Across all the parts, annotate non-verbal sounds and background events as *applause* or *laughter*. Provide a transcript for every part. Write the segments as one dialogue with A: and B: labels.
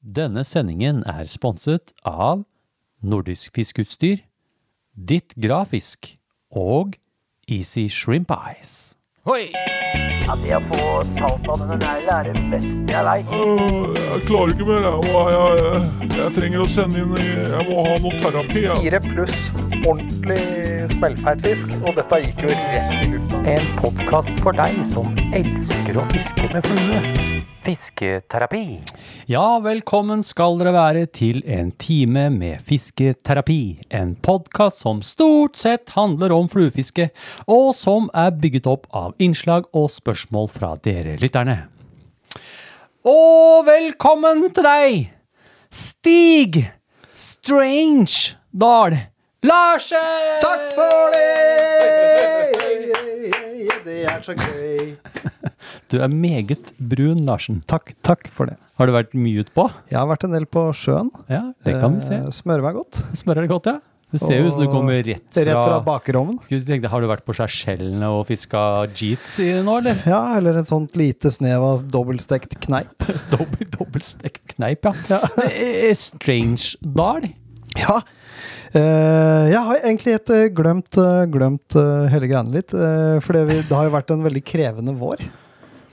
A: Denne sendingen er sponset av Nordisk Fiskeutstyr, Ditt Grafisk og Easy Shrimp Eyes. Hoi!
B: Ja, det å få talt av denne neglen er det beste jeg veit.
C: Øh, Jeg klarer ikke mer. Jeg, Åh, jeg, jeg, jeg trenger å sende inn i- Jeg må ha noe terapi. Jeg.
D: Fire pluss ordentlig smellfeit fisk, og dette gikk jo rett i lufta.
B: En podkast for deg som elsker å fiske med flue. Fisketerapi.
A: Ja, velkommen skal dere være til en time med fisketerapi. En podkast som stort sett handler om fluefiske, og som er bygget opp av innslag og spørsmål fra dere lytterne. Og velkommen til deg, Stig Strange Dahl Larsen!
D: Takk for det! Det er så gøy.
A: Du er meget brun, Larsen.
D: Takk, takk for det.
A: Har du vært mye utpå?
D: Jeg har vært en del på sjøen.
A: Ja, det kan vi se.
D: Eh, Smører meg godt.
A: Smører det godt, ja? Det ser jo ut som du kommer rett fra,
D: Rett fra bakerovnen.
A: Skulle tenke deg, Har du vært på Seychellene og fiska jeets i nå, eller? *laughs*
D: Ja, eller et sånt lite snev av dobbeltstekt kneip.
A: Dobbel, dobbelstekt kneip, ja. Eh, Strange Dahl.
D: Ja. Eh, jeg har egentlig helt eh, glemt, eh, glemt eh, hele greiene litt. eh, for det, vi, det har jo vært en veldig krevende vår.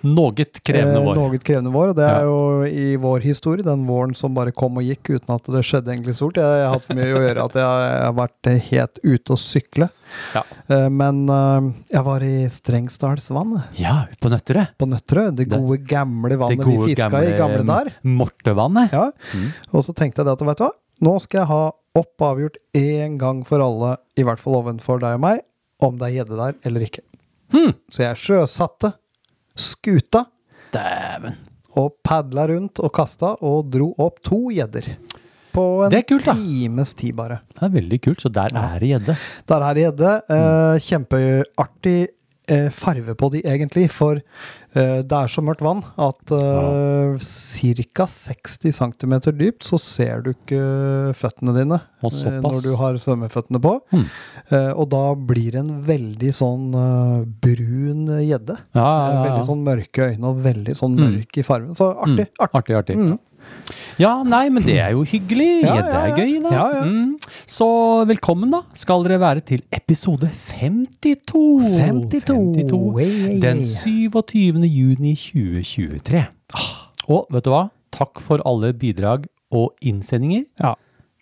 A: Noget krevende
D: Eh,
A: vår.
D: Noe krevende vår, og det
A: Ja.
D: er jo i vår historie, den våren som bare kom og gikk uten at det skjedde egentlig stort. Jeg, jeg har hatt så mye å gjøre at jeg, jeg har vært eh, helt ute å sykle.
A: Ja.
D: Eh, Men eh, jeg var i Strengsdalsvann
A: ja, ut på Nøtterøy.
D: på Nøtterøy, det
A: Det- eh,
D: gode gamle vannet vi fiska i gamle der.
A: Mortevannet.
D: Ja.
A: Mm.
D: Og så tenkte jeg det at, vet du hva, nå skal jeg ha opp avgjort én gang for alle, i hvert fall ovenfor deg og meg, om det er gjedde der eller ikke.
A: Hmm.
D: Så jeg sjøsatte skuta
A: Dæven.
D: og padla rundt og kasta og dro opp to gjedder. På en
A: Det er kult, da.
D: times tid, bare.
A: Det er veldig kult. Så der er det gjedde.
D: Der er det gjedde. Eh,
A: Mm.
D: kjempeartig eh, farve på de, egentlig, for eh, det er så mørkt vann at eh, ca. 60 cm dypt så ser du ikke eh, føttene dine
A: Og
D: eh,
A: såpass.
D: når du har svømmeføttene på.
A: Mm.
D: Eh, og da blir det en veldig sånn eh, brun gjedde.
A: Ja, ja, ja,
D: Veldig
A: ja.
D: sånn mørke øyne og veldig sånn
A: Mm.
D: mørk i fargen. Så artig. artig. Mm.
A: Artig, artig. Ja, nei, men det er jo hyggelig.
D: Ja,
A: Gjedde
D: ja,
A: er
D: ja.
A: gøy, da.
D: Ja, ja.
A: Mm. Så velkommen, da, skal dere være til episode 52.
D: 52.
A: 52. Den 27. juni 2023.
D: Ah.
A: Og vet du hva? Takk for alle bidrag og innsendinger.
D: Ja.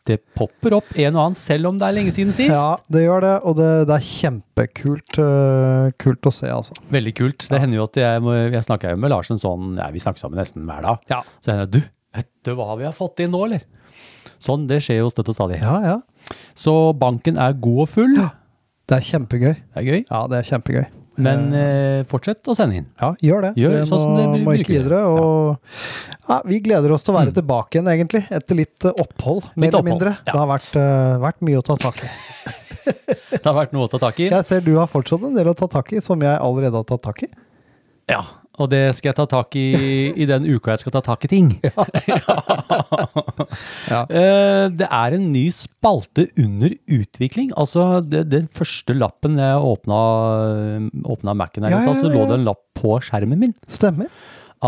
A: Det popper opp en og annen selv om det er lenge siden sist.
D: Ja, det gjør det, og det, det er kjempekult øh, kult å se, altså.
A: Veldig kult. Det hender jo at jeg, må- jeg snakker jo med Larsen sånn ja, Vi snakker sammen nesten hver dag.
D: Ja.
A: Så hender det du, vet du hva vi har fått inn nå, eller? Sånn, det skjer jo støtt og stadig.
D: Ja, ja.
A: Så banken er god og full.
D: Det er kjempegøy.
A: Det er gøy.
D: Ja, det er kjempegøy.
A: Men eh, fortsett å sende inn.
D: Ja, gjør det.
A: Gjør
D: Dere
A: sånn som
D: må,
A: dere
D: må
A: bruker
D: ikke videre. Og, ja, vi gleder oss til å være tilbake igjen, egentlig. Etter litt øh, opphold, mer
A: Mm. Litt
D: eller
A: opphold,
D: mindre.
A: ja.
D: Det har vært, øh, vært mye å ta tak i.
A: Det har vært noe å ta tak i.
D: Jeg ser du har fortsatt en del å ta tak i, som jeg allerede har tatt tak i.
A: Ja, og det skal jeg ta tak i i den uka jeg skal ta tak i ting.
D: Ja.
A: Eh, Det er en ny spalte under utvikling. Altså, det, den første lappen jeg åpna, åpna Mac-en her,
D: Ja,
A: i stad,
D: ja,
A: så
D: ja,
A: lå
D: ja.
A: det en lapp på skjermen min
D: Stemmer.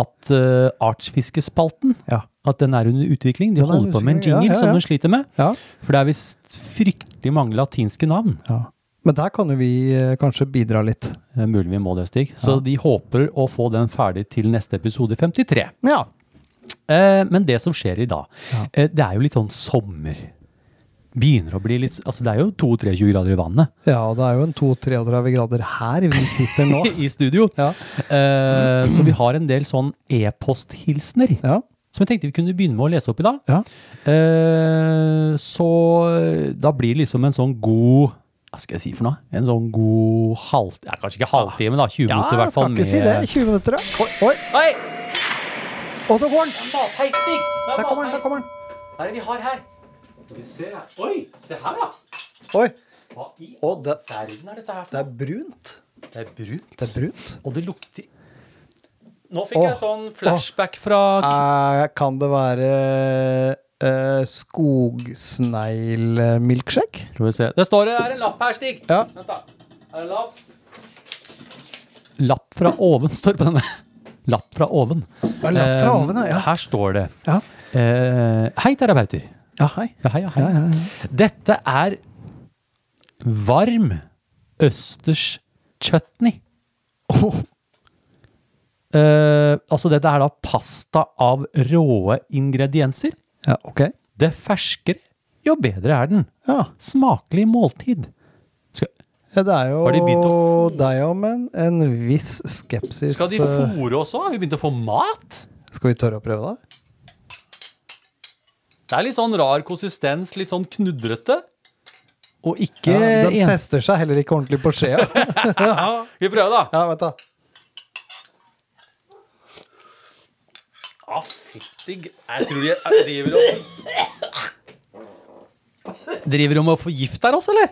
A: at eh, artsfiskespalten
D: Ja.
A: at den er under utvikling. De
D: Den er
A: holder på med en
D: utvikling, ja,
A: jingle
D: ja,
A: som
D: ja.
A: de sliter med.
D: Ja.
A: For det er visst fryktelig mange latinske navn.
D: ja. Men der kan jo vi øh, kanskje bidra litt.
A: Det er Eh, mulig vi må det, Stig. Så de håper å få den ferdig til neste episode 53.
D: Ja.
A: Eh, men det som skjer i dag,
D: Ja.
A: eh, det er jo litt sånn sommer. Begynner å bli litt Altså, det er jo 22-23 grader i vannet
D: Ja, det er jo en 32-33 grader her vi sitter
A: *laughs*
D: nå.
A: i studio.
D: Ja.
A: Eh, så vi har en del sånn e-posthilsener
D: Ja.
A: som jeg tenkte vi kunne begynne med å lese opp i dag.
D: Ja.
A: Eh, så da blir det liksom en sånn god Hva skal jeg si for noe? En sånn god halv... Ja, kanskje ikke halvtime, da. 20 minutter i hvert fall.
D: skal ikke si det. 20 minutter, ja. Oi,
A: Oi!
D: og så går den!
A: Matheis, Stig!
D: Der kommer den, der kommer den.
A: Hva er det vi har her? Skal vi se her. Oi! Se her, da!
D: Oi,
A: Hva i
D: og det,
A: verden er dette her
D: det
A: for
D: er brunt.
A: noe? Det er brunt.
D: Det er brunt.
A: Og det lukter Nå fikk
D: Åh.
A: jeg sånn flashback fra
D: Eh, kan det være eh, skogsneglmilkshake?
A: Skal vi se. Det står det er en lapp her, Stig.
D: Ja.
A: Vent, da. Er det en lapp? Lapp *laughs* fra oven står det på denne. Lapp fra oven.
D: Ja, lapp fra
A: Eh,
D: oven, ja.
A: Her står det.
D: Ja.
A: Eh, hei, terapeuter.
D: Ja, hei.
A: Ja, hei, ja, hei.
D: Ja, ja, ja.
A: Dette er varm østers chutney.
D: Åh,
A: Eh, altså, dette er da pasta av råe ingredienser.
D: ja, ok.
A: Det ferskere, jo bedre er den.
D: Ja.
A: Smakelig måltid. Skal,
D: ja, det er
A: Har de begynt
D: jo deg om en, en viss skepsis.
A: skal de
D: eh,
A: fôre også? Har vi begynt å få mat?
D: Skal vi tørre å prøve det?
A: Det er litt sånn rar konsistens, litt sånn knudrete. Og ikke
D: Ja, den
A: en...
D: fester seg heller ikke ordentlig på *laughs* skjea.
A: Skal vi prøve, da?
D: Ja, vet du.
A: Ah, fytti g- Jeg tror de driver og Driver om å forgifte her oss, eller?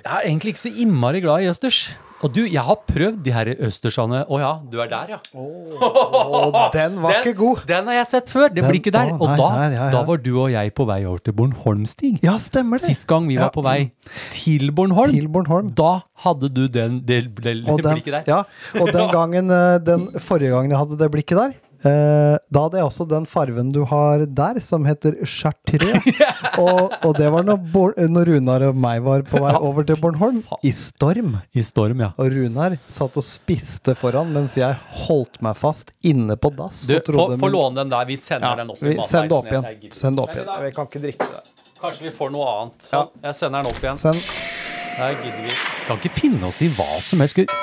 A: Jeg er egentlig ikke så innmari glad i østers. Og du, jeg har prøvd de her østersene. Å ja, du er der, ja.
D: Og den var ikke god.
A: Den har jeg sett før. Det
D: Den-
A: blir ikke der.
D: å,
A: Og
D: nei,
A: da,
D: nei, ja, ja.
A: da var du og jeg på vei over til Bornholmstig.
D: Ja, stemmer det.
A: Sist gang vi var
D: Ja.
A: på vei til Bornholm,
D: Til Bornholm.
A: da hadde du den, det, det, det
D: Og den,
A: blikket der.
D: ja, og den gangen eh, Den forrige gangen jeg hadde det blikket der eh, Da hadde jeg også den farven du har der Som heter chartreux
A: *laughs*
D: og, og det var når, Bor- når Runar og meg var på vei over til Bornholm I storm
A: I storm, ja.
D: Og Runar satt og spiste foran Mens jeg holdt meg fast inne på dass
A: Du,
D: og trodde
A: få få
D: min-
A: låne den der. Vi sender
D: ja,
A: den opp. i
D: vi,
A: matveisen.
D: Send det opp
A: Jeg-
D: igjen
A: jeg gidder.
D: Send det opp
A: Nei,
D: igjen
A: nei,
D: Jeg kan ikke drikke det
A: Kanskje vi får noe annet. Sånn, jeg sender den opp igjen.
D: Send,
A: Der gidder vi. Kan ikke finne oss i hva som helst. Skal vi-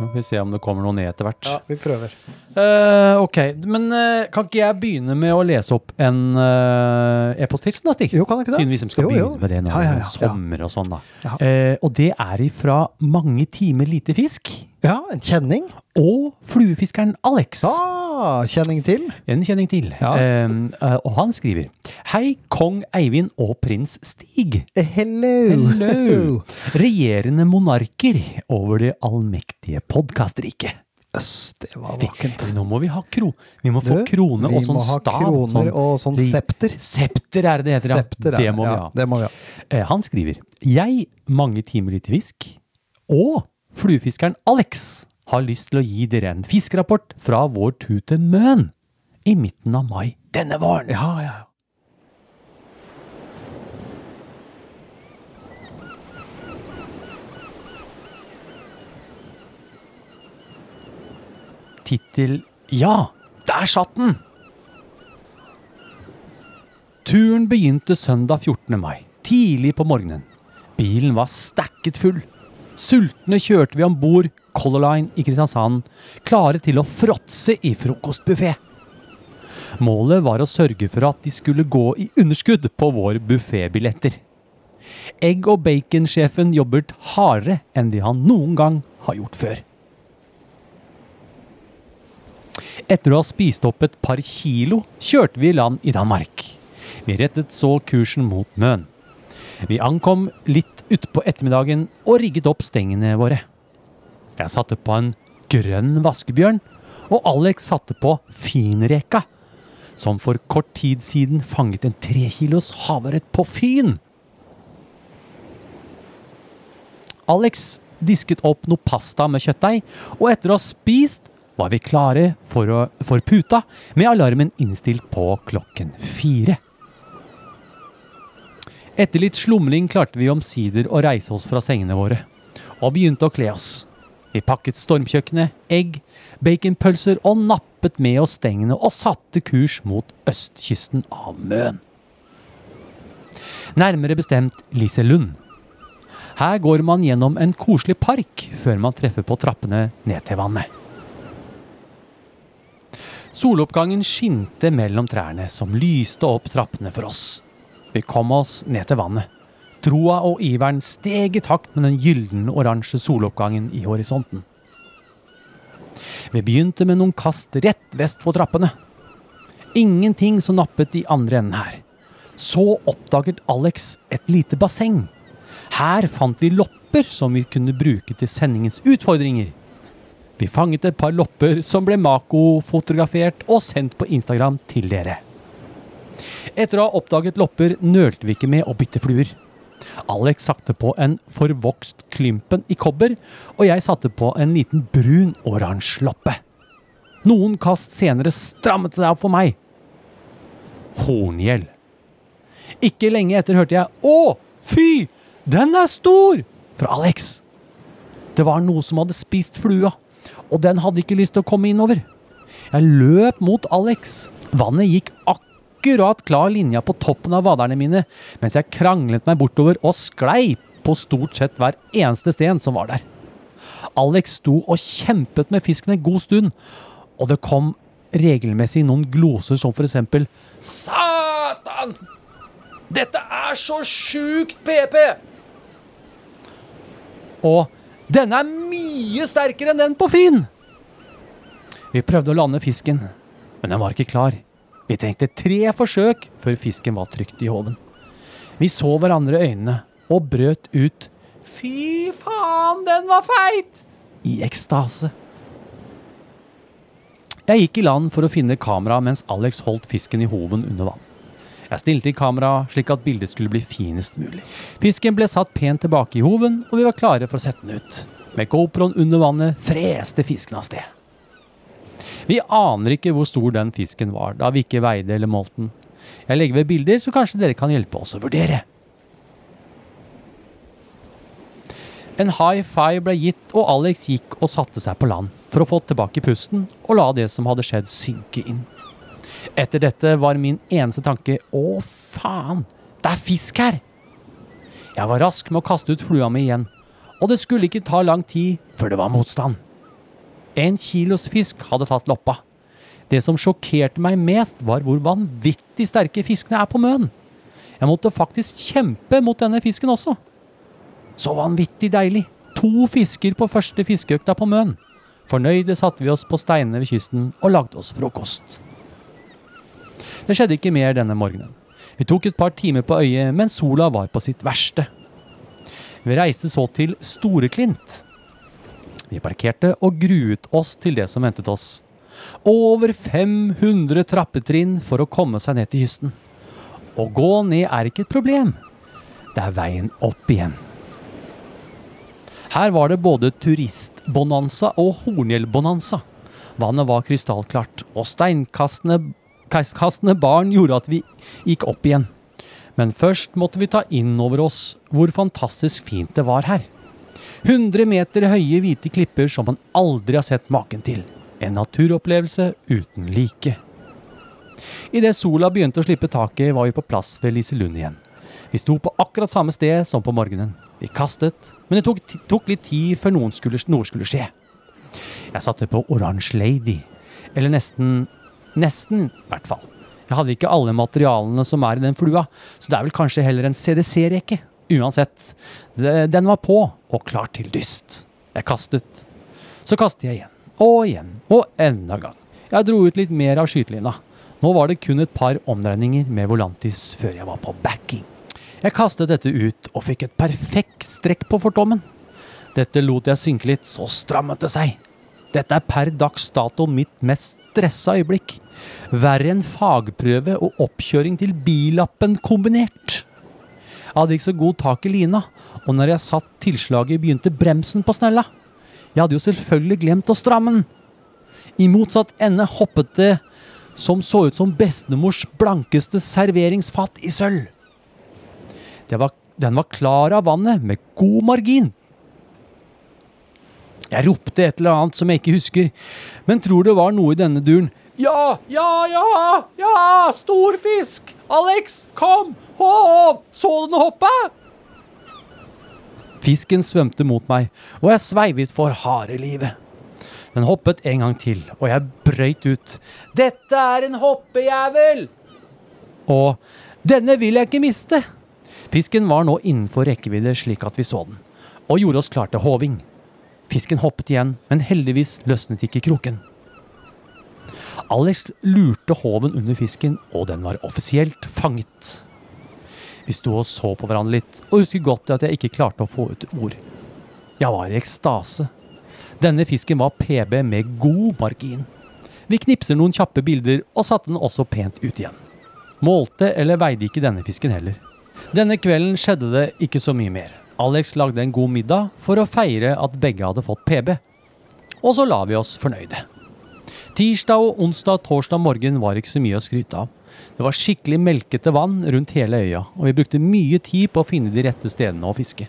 A: Nå får vi se om det kommer noe ned etter hvert.
D: ja, vi prøver
A: Eh, ok, men eh, kan ikke jeg begynne med å lese opp en eh, e-posthilsen da, Stig?
D: Jo, kan jeg ikke det?
A: Siden vi som skal
D: Jo, jo.
A: begynne med det nå,
D: Ja, ja, ja,
A: sånn sommer og sånn da.
D: Ja.
A: Eh, og det er ifra Mange timer lite fisk
D: Ja, en kjenning
A: og fluefiskeren Alex.
D: Ja, kjenning til
A: En kjenning til.
D: Ja.
A: Eh, eh, og han skriver Hei, kong Eivind og prins Stig.
D: Hello
A: Hello. *laughs* Regjerende monarker over det allmektige podkastriket.
D: Øss, det var vakkent.
A: Nå må vi ha kro... Vi må få
D: Du,
A: krone
D: vi
A: og sånn
D: må ha
A: stav.
D: kroner og sånn
A: Ri-
D: septer.
A: Septer er det det heter, ja.
D: Septer er
A: det må
D: ja,
A: vi ha.
D: Det må vi ha.
A: Eh, Han skriver Jeg, mange timer lite fisk, og fluefiskeren Alex har lyst til å gi dere en fiskerapport fra vår tur til Møn i midten av mai denne våren.
D: Ja, ja.
A: Tittel Ja, der satt den! Turen begynte søndag 14. mai, tidlig på morgenen. Bilen var stakket full. Sultne kjørte vi om bord Color Line i Kristiansand, klare til å fråtse i frokostbuffé. Målet var å sørge for at de skulle gå i underskudd på våre buffébilletter. Egg- og baconsjefen jobbet hardere enn det han noen gang har gjort før. Etter å ha spist opp et par kilo, kjørte vi i land i Danmark. Vi rettet så kursen mot Møn. Vi ankom litt utpå ettermiddagen og rigget opp stengene våre. Jeg satte på en grønn vaskebjørn, og Alex satte på finreka, som for kort tid siden fanget en trekilos havørret på Fyn. Alex disket opp noe pasta med kjøttdeig, og etter å ha spist var vi klare for, å, for puta, med alarmen innstilt på klokken fire. Etter litt slumring klarte vi omsider å reise oss fra sengene våre, og begynte å kle oss. Vi pakket stormkjøkkenet, egg, baconpølser og nappet med oss stengene og satte kurs mot østkysten av Møn. Nærmere bestemt Liselund. Her går man gjennom en koselig park før man treffer på trappene ned til vannet. Soloppgangen skinte mellom trærne som lyste opp trappene for oss. Vi kom oss ned til vannet. Troa og iveren steg i takt med den gylden oransje soloppgangen i horisonten. Vi begynte med noen kast rett vest for trappene. Ingenting som nappet i andre enden her. Så oppdaget Alex et lite basseng. Her fant vi lopper som vi kunne bruke til sendingens utfordringer. Vi fanget et par lopper som ble Mako-fotografert og sendt på Instagram til dere. Etter å ha oppdaget lopper nølte vi ikke med å bytte fluer. Alex sakte på en forvokst klympen i kobber, og jeg satte på en liten brun-oransje loppe. Noen kast senere strammet det seg opp for meg. Horngjell. Ikke lenge etter hørte jeg 'Å, fy, den er stor!' fra Alex. Det var noe som hadde spist flua, og den hadde ikke lyst til å komme innover. Jeg løp mot Alex. Vannet gikk akkurat klar linja på toppen av vaderne mine, mens jeg kranglet meg bortover og sklei på stort sett hver eneste sten som var der. Alex sto og kjempet med fisken en god stund, og det kom regelmessig noen gloser som for eksempel Satan! Dette er så sjukt PP! Og denne er mye sterkere enn den på Finn! Vi prøvde å lande fisken, men den var ikke klar. Vi trengte tre forsøk før fisken var trygt i håven. Vi så hverandre i øynene og brøt ut 'Fy faen, den var feit!' i ekstase. Jeg gikk i land for å finne kameraet mens Alex holdt fisken i hoven under vann. Jeg stilte i kamera slik at bildet skulle bli finest mulig. Fisken ble satt pent tilbake i hoven, og vi var klare for å sette den ut. Med GoProen under vannet freste fisken av sted. Vi aner ikke hvor stor den fisken var, da vi ikke veide eller målte den. Jeg legger ved bilder, så kanskje dere kan hjelpe oss å vurdere. En high five ble gitt, og Alex gikk og satte seg på land for å få tilbake pusten og la det som hadde skjedd, synke inn. Etter dette var min eneste tanke 'Å, faen, det er fisk her!' Jeg var rask med å kaste ut flua mi igjen, og det skulle ikke ta lang tid før det var motstand. En kilos fisk hadde tatt loppa. Det som sjokkerte meg mest, var hvor vanvittig sterke fiskene er på Møn. Jeg måtte faktisk kjempe mot denne fisken også. Så vanvittig deilig! To fisker på første fiskeøkta på Møn. Fornøyde satte vi oss på steinene ved kysten og lagde oss frokost. Det skjedde ikke mer denne morgenen. Vi tok et par timer på øyet mens sola var på sitt verste. Vi reiste så til Storeklint. Vi parkerte og gruet oss til det som ventet oss. Over 500 trappetrinn for å komme seg ned til kysten. Å gå ned er ikke et problem. Det er veien opp igjen. Her var det både turistbonanza og horngjellbonanza. Vannet var krystallklart, og steinkastene kastende barn gjorde at vi gikk opp igjen. Men først måtte vi ta inn over oss hvor fantastisk fint det var her. 100 meter høye hvite klipper som man aldri har sett maken til. En naturopplevelse uten like. Idet sola begynte å slippe taket, var vi på plass ved Liselund igjen. Vi sto på akkurat samme sted som på morgenen. Vi kastet, men det tok, tok litt tid før noen skulle, noe skulle skje. Jeg satte på Orange Lady, eller nesten Nesten, i hvert fall. Jeg hadde ikke alle materialene som er i den flua, så det er vel kanskje heller en CDC-reke. Uansett, de- den var på og klar til dyst. Jeg kastet. Så kastet jeg igjen, og igjen, og enda en gang. Jeg dro ut litt mer av skytelina. Nå var det kun et par omdreininger med Volantis før jeg var på backing. Jeg kastet dette ut og fikk et perfekt strekk på fortommen. Dette lot jeg synke litt, så strammet det seg. Dette er per dags dato mitt mest stressa øyeblikk. Verre enn fagprøve og oppkjøring til billappen kombinert. Jeg hadde ikke så god tak i lina, og når jeg satt tilslaget, begynte bremsen på snella. Jeg hadde jo selvfølgelig glemt å stramme den. I motsatt ende hoppet det som så ut som bestemors blankeste serveringsfat i sølv. Det var, den var klar av vannet med god margin. Jeg ropte et eller annet som jeg ikke husker, men tror det var noe i denne duren. Ja, ja, ja, ja, stor fisk! Alex, kom! Hå, så du den hoppe? Fisken svømte mot meg, og jeg sveivet for harde livet. Den hoppet en gang til, og jeg brøyt ut. Dette er en hoppejævel! Og denne vil jeg ikke miste! Fisken var nå innenfor rekkevidde slik at vi så den, og gjorde oss klar til håving. Fisken hoppet igjen, men heldigvis løsnet ikke kroken. Alex lurte håven under fisken, og den var offisielt fanget. Vi sto og så på hverandre litt, og husker godt at jeg ikke klarte å få ut ord. Jeg var i ekstase. Denne fisken var PB med god margin. Vi knipser noen kjappe bilder, og satte den også pent ut igjen. Målte eller veide ikke denne fisken heller. Denne kvelden skjedde det ikke så mye mer. Alex lagde en god middag for å feire at begge hadde fått PB. Og så la vi oss fornøyde. Tirsdag og onsdag og torsdag morgen var ikke så mye å skryte av. Det var skikkelig melkete vann rundt hele øya, og vi brukte mye tid på å finne de rette stedene å fiske.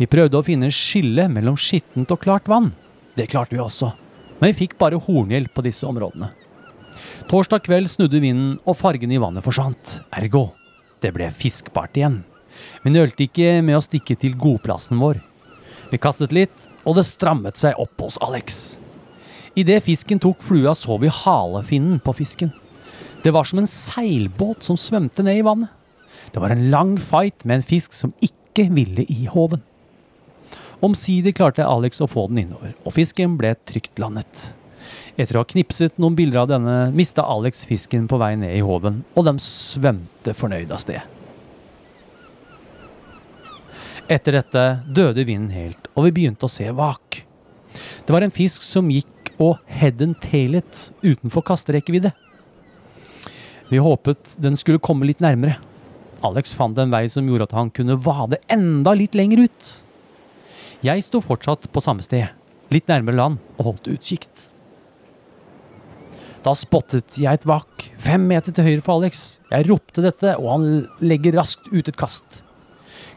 A: Vi prøvde å finne skille mellom skittent og klart vann. Det klarte vi også, men vi fikk bare hornhjelp på disse områdene. Torsdag kveld snudde vinden, og fargen i vannet forsvant. Ergo, det ble fiskbart igjen. Men det nølte ikke med å stikke til godplassen vår. Vi kastet litt, og det strammet seg opp hos Alex. Idet fisken tok flua, så vi halefinnen på fisken. Det var som en seilbåt som svømte ned i vannet. Det var en lang fight med en fisk som ikke ville i håven. Omsider klarte Alex å få den innover, og fisken ble trygt landet. Etter å ha knipset noen bilder av denne, mista Alex fisken på vei ned i håven, og de svømte fornøyd av sted. Etter dette døde vinden helt, og vi begynte å se vak. Det var en fisk som gikk og head and tailet utenfor kasterekkevidde. Vi håpet den skulle komme litt nærmere. Alex fant en vei som gjorde at han kunne vade enda litt lenger ut. Jeg sto fortsatt på samme sted, litt nærmere land, og holdt utkikt. Da spottet jeg et vak fem meter til høyre for Alex. Jeg ropte dette, og han legger raskt ut et kast.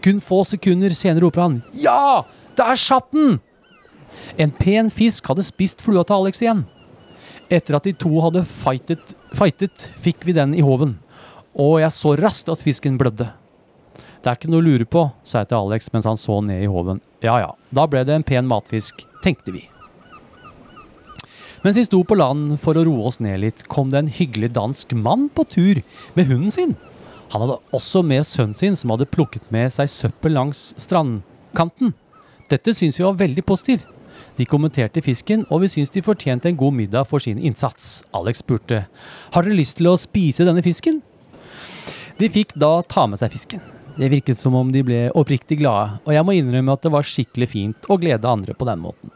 A: Kun få sekunder senere roper han Ja! Der satt den! En pen fisk hadde spist flua til Alex igjen. Etter at de to hadde fightet, fightet fikk vi den i håven, og jeg så raskt at fisken blødde. Det er ikke noe å lure på, sa jeg til Alex mens han så ned i håven. Ja ja, da ble det en pen matfisk, tenkte vi. Mens vi sto på land for å roe oss ned litt, kom det en hyggelig dansk mann på tur med hunden sin. Han hadde også med sønnen sin, som hadde plukket med seg søppel langs strandkanten. Dette syntes vi var veldig positivt. De kommenterte fisken, og vi syntes de fortjente en god middag for sin innsats. Alex spurte har dere lyst til å spise denne fisken. De fikk da ta med seg fisken. Det virket som om de ble oppriktig glade, og jeg må innrømme at det var skikkelig fint å glede andre på den måten.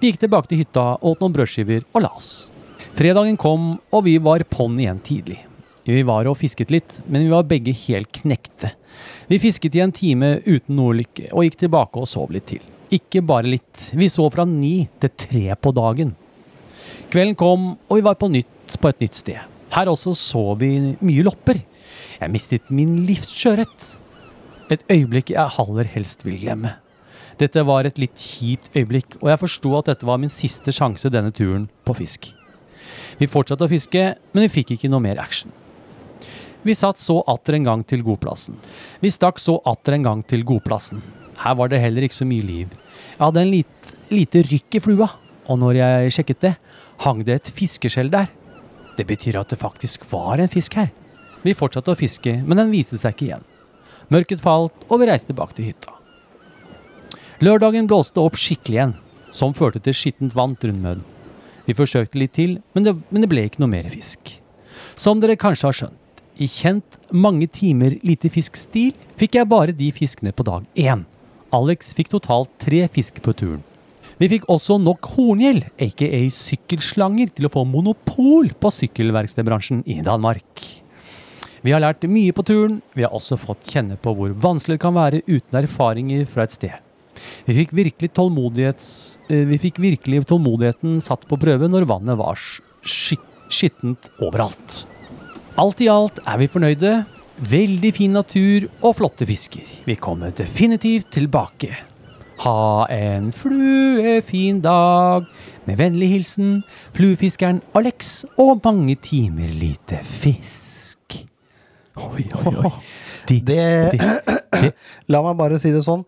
A: Vi gikk tilbake til hytta, åt noen brødskiver og la oss. Fredagen kom, og vi var på'n igjen tidlig. Vi var og fisket litt, men vi var begge helt knekte. Vi fisket i en time uten noe lykke, og gikk tilbake og sov litt til. Ikke bare litt, vi sov fra ni til tre på dagen. Kvelden kom, og vi var på nytt på et nytt sted. Her også så vi mye lopper. Jeg mistet min livs sjøørret. Et øyeblikk jeg aller helst vil glemme. Dette var et litt kjipt øyeblikk, og jeg forsto at dette var min siste sjanse denne turen på fisk. Vi fortsatte å fiske, men vi fikk ikke noe mer action. Vi satt så atter en gang til godplassen. Vi stakk så atter en gang til godplassen. Her var det heller ikke så mye liv. Jeg hadde en lit, lite rykk i flua, og når jeg sjekket det, hang det et fiskeskjell der. Det betyr at det faktisk var en fisk her. Vi fortsatte å fiske, men den viste seg ikke igjen. Mørket falt, og vi reiste tilbake til hytta. Lørdagen blåste opp skikkelig igjen, som førte til skittent vann rundt møen. Vi forsøkte litt til, men det, men det ble ikke noe mer fisk. Som dere kanskje har skjønt, i kjent mange timer lite fisk-stil fikk jeg bare de fiskene på dag én. Alex fikk totalt tre fisk på turen. Vi fikk også nok horngjell, aka sykkelslanger, til å få monopol på sykkelverkstedbransjen i Danmark. Vi har lært mye på turen. Vi har også fått kjenne på hvor vanskelig det kan være uten erfaringer fra et sted. Vi fikk virkelig, tålmodighets- eh, vi fikk virkelig tålmodigheten satt på prøve når vannet var sk- sk- skittent overalt. Alt i alt er vi fornøyde. Veldig fin natur og flotte fisker. Vi kommer definitivt tilbake. Ha en fluefin dag. Med vennlig hilsen fluefiskeren Alex og mange timer lite fisk. Oi, oi, oi. De,
D: Det-
A: de, de,
D: La meg bare si det sånn.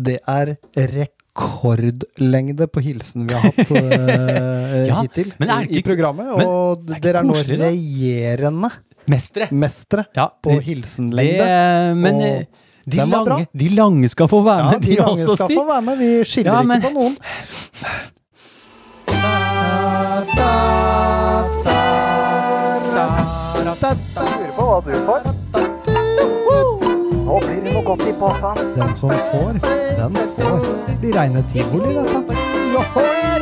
D: Det er rekordlengde på hilsen vi
A: *laughs*
D: har hatt eh,
A: Ja,
D: hittil
A: men er det
D: i
A: ikke-
D: programmet.
A: men
D: og
A: er det ikke
D: dere er nå
A: koselig, da?
D: regjerende
A: mestre.
D: mestere
A: Ja,
D: på
A: det-
D: hilsenlengde.
A: Det, men
D: og
A: eh, de
D: den var bra.
A: lange, de lange skal få være
D: ja,
A: med, de,
D: de lange
A: også,
D: skal
A: Stig.
D: få være med. Vi skiller
A: Ja, men-
D: ikke på noen. Den som får, den får. Blir reine tivoli, dette.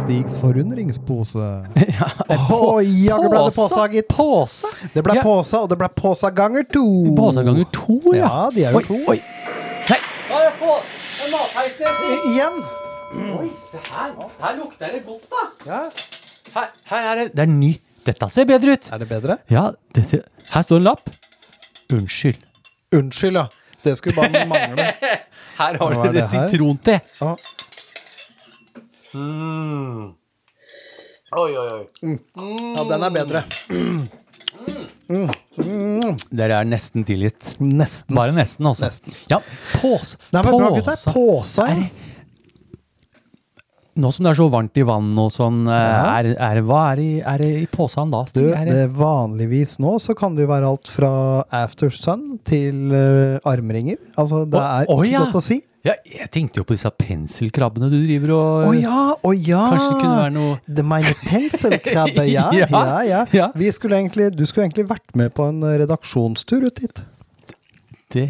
D: Stigs forundringspose. Oi, jaggu ble det påsa, gitt.
A: Påsa?
D: Det ble
A: *laughs* Ja.
D: påsa, og det ble påsa ganger to.
A: Påsa ganger to, ja.
D: Ja, de er jo
A: oi,
D: to.
A: Oi. Nei. Oi, matheisen!
D: I- Igjen!
A: Oi, se her. Her lukter det godt, da.
D: Ja.
A: Her, her er det Det er ny. Dette ser bedre ut.
D: Er det bedre?
A: Ja, det ser Her står en lapp. Unnskyld.
D: Unnskyld, ja. Det skulle
A: *laughs*
D: bare mangle.
A: Her har
D: Hva er
A: dere
D: det her?
A: sitronte.
D: Ja.
A: Oi, oi, oi.
D: ja, den er bedre.
A: Dere er nesten tilgitt.
D: Nesten.
A: Bare nesten, altså.
D: Nesten.
A: Ja, pås,
D: Nei, men bra, gutter.
A: påsa-
D: Påsa. ja.
A: Nå som det er så varmt i vann og sånn, eh, er, er, hva er, i, er det i posen da?
D: Du,
A: Stig? er det,
D: det vanligvis nå så kan det jo være alt fra after sun til eh, armringer. Altså, det
A: Å,
D: er
A: å,
D: ikke
A: ja.
D: godt å si.
A: ja, jeg tenkte jo på disse penselkrabbene du driver og
D: Å ja, å ja!
A: Eh, Kanskje det kunne være noe-
D: The Minor Pencil-krabbe, ja,
A: *laughs* Ja,
D: ja, ja.
A: ja.
D: Vi skulle egentlig, du skulle egentlig vært med på en eh, redaksjonstur ut dit.
A: det,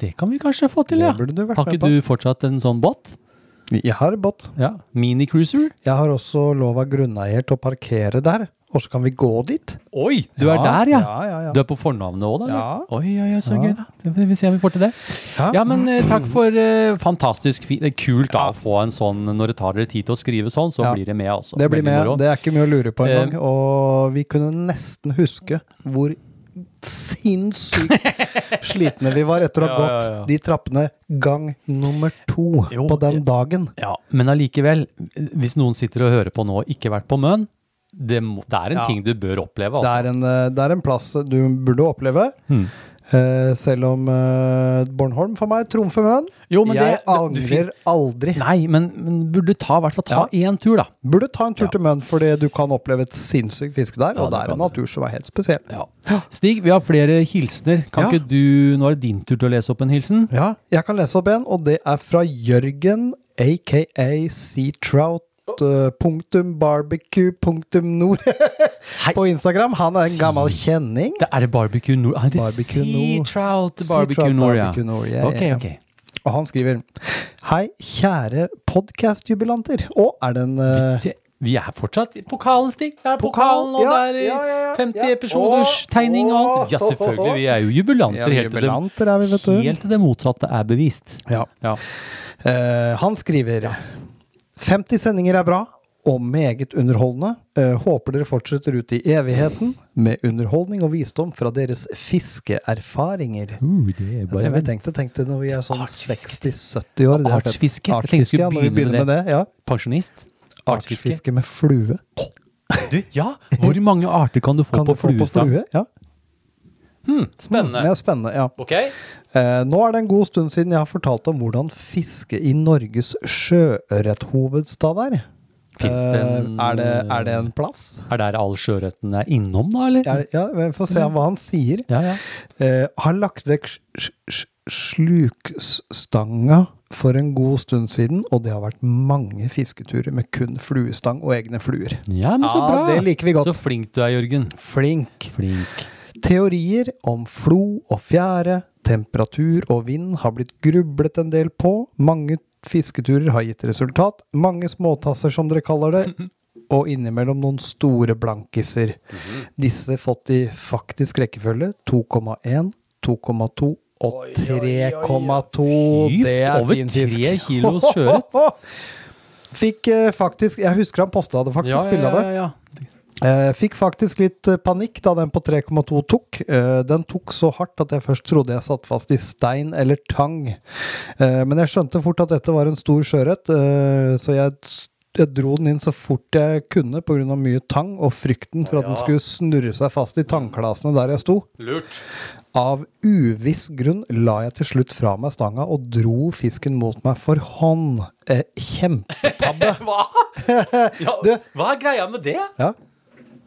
A: det kan vi kanskje få til, ja.
D: Det burde du vært
A: Har
D: med
A: ikke du fortsatt en sånn båt?
D: Jeg har båt.
A: Ja. Minicruiser?
D: Jeg har også lov av grunneier til å parkere der, og så kan vi gå dit.
A: Oi, du er
D: Ja,
A: der, ja.
D: ja, ja, ja.
A: Du er på fornavnet òg, da? eller?
D: Ja.
A: Oi, oi, oi, så gøy, da. Det får vi se om vi får til det. Ja,
D: Ja.
A: men eh, takk for eh, fantastisk fint. Det er kult da å få en sånn Når det tar dere tid til å skrive sånn, så
D: Ja.
A: blir det med, altså.
D: Det blir
A: Veldig
D: med.
A: moro.
D: Det er ikke mye å lure på
A: Eh.
D: engang. Og vi kunne nesten huske hvor
A: *laughs*
D: sinnssykt slitne vi var etter å ha
A: Ja,
D: gått
A: ja, ja.
D: de trappene gang nummer to
A: Jo,
D: på den dagen.
A: Ja, men allikevel, hvis noen sitter og hører på nå og ikke vært på Møn, det, må, det er en
D: Ja.
A: ting du bør oppleve,
D: Det
A: altså. Hmm.
D: er, en, eh, det er en plass du burde oppleve. Eh, selv om eh, Bornholm for meg trumfer Møn.
A: Jo, men
D: jeg
A: det- du- du fin-
D: angrer aldri.
A: Nei, men, men burde ta, i hvert fall ta én tur, da.
D: Burde ta en tur til Møn, fordi du kan oppleve et sinnssykt fiske der. og
A: det
D: det er
A: kan
D: en natur som er helt spesiell.
A: Stig, vi har flere hilsener. Kan
D: Ja.
A: ikke du Nå er det din tur til å lese opp en hilsen.
D: Ja, jeg kan lese opp en, og det er fra Jørgen, aka Seatrout. eh, Punktum barbecue punktum nord *laughs* på Instagram. Han er en gammel kjenning.
A: Det er det Barbecue Nord Nei, det er
D: Barbecue
A: Sea
D: Nord.
A: Trout
D: Sea
A: Barbecue
D: Trout
A: Nord, ja.
D: Barbecue Nord, ja,
A: Ok,
D: ja, ja.
A: ok.
D: Og han skriver Hei, kjære podkastjubilanter. Å, er det en eh,
A: Se, vi er fortsatt i pokalen, Stig. Det er pokalen,
D: Pokal,
A: og
D: ja,
A: det er
D: ja, ja, ja.
A: 50
D: Ja.
A: episoders
D: Å,
A: tegning og alt.
D: å,
A: Ja,
D: å, å,
A: selvfølgelig.
D: å.
A: Vi er jo jubilanter
D: Ja,
A: helt til det-
D: jubilanter er vi, vet du.
A: helt til det motsatte er bevist.
D: Ja.
A: Ja.
D: Eh, han skriver 50 sendinger er bra og meget underholdende. Eh, håper dere fortsetter ut i evigheten med underholdning og visdom fra deres fiskeerfaringer.
A: Uh, det er
D: Det
A: bare
D: er det vi tenkte, tenkte når vi er sånn
A: Artsfiske.
D: 60-70 år. det er fett.
A: Artsfiske. Jeg tenkte vi skulle
D: ja, når vi
A: begynne
D: begynner
A: med
D: med det. Ja.
A: pensjonist. Artsfiske.
D: Artsfiske med flue.
A: Du, ja! Hvor mange arter kan du få
D: Kan
A: på
D: du få på
A: fluestang?
D: flue? Ja. Det
A: Spennende.
D: er spennende, ja.
A: Ok.
D: Eh, nå er det en god stund siden jeg har fortalt om hvordan fiske i Norges sjøørrethovedstad er.
A: Finnes det en-
D: Eh, er, det, er det en plass?
A: Er der all sjøørreten er innom, da, eller?
D: Er det, ja, vi får se hva han sier.
A: Ja, ja.
D: Eh, har lagt vekk sj- sj- slukstanga for en god stund siden, og det har vært mange fisketurer med kun fluestang og egne fluer.
A: Ja, men så
D: Ja,
A: bra!
D: det liker vi godt.
A: Så flink du er, Jørgen.
D: Flink.
A: Flink.
D: Teorier om flo og fjære, temperatur og vind har blitt grublet en del på. Mange fisketurer har gitt resultat. Mange småtasser, som dere kaller
A: *laughs*
D: det. Og innimellom noen store blankiser.
A: Mhm.
D: Disse fått i faktisk rekkefølge 2,1, 2,2 og 3,2. Det
A: Gift
D: er
A: over
D: fin
A: tre
D: *laughs* fisk.
A: kilos sjøørret.
D: Fikk eh, faktisk Jeg husker han posta det faktisk,
A: Ja,
D: bildet
A: ja,
D: av det.
A: ja, ja.
D: Eh, fikk faktisk litt eh, panikk da den på 3,2 tok. Eh, den tok så hardt at jeg først trodde jeg satt fast i stein eller tang. Eh, men jeg skjønte fort at dette var en stor sjøørret, eh, så jeg, jeg dro den inn så fort jeg kunne pga. mye tang og frykten for at den skulle snurre seg fast i tangklasene der jeg sto.
A: Lurt.
D: Av uviss grunn la jeg til slutt fra meg stanga og dro fisken mot meg for hånd. Eh, kjempetabbe.
A: *laughs*
D: *laughs*
A: Hva? Ja,
D: Du-
A: hva er greia med det?
D: Ja.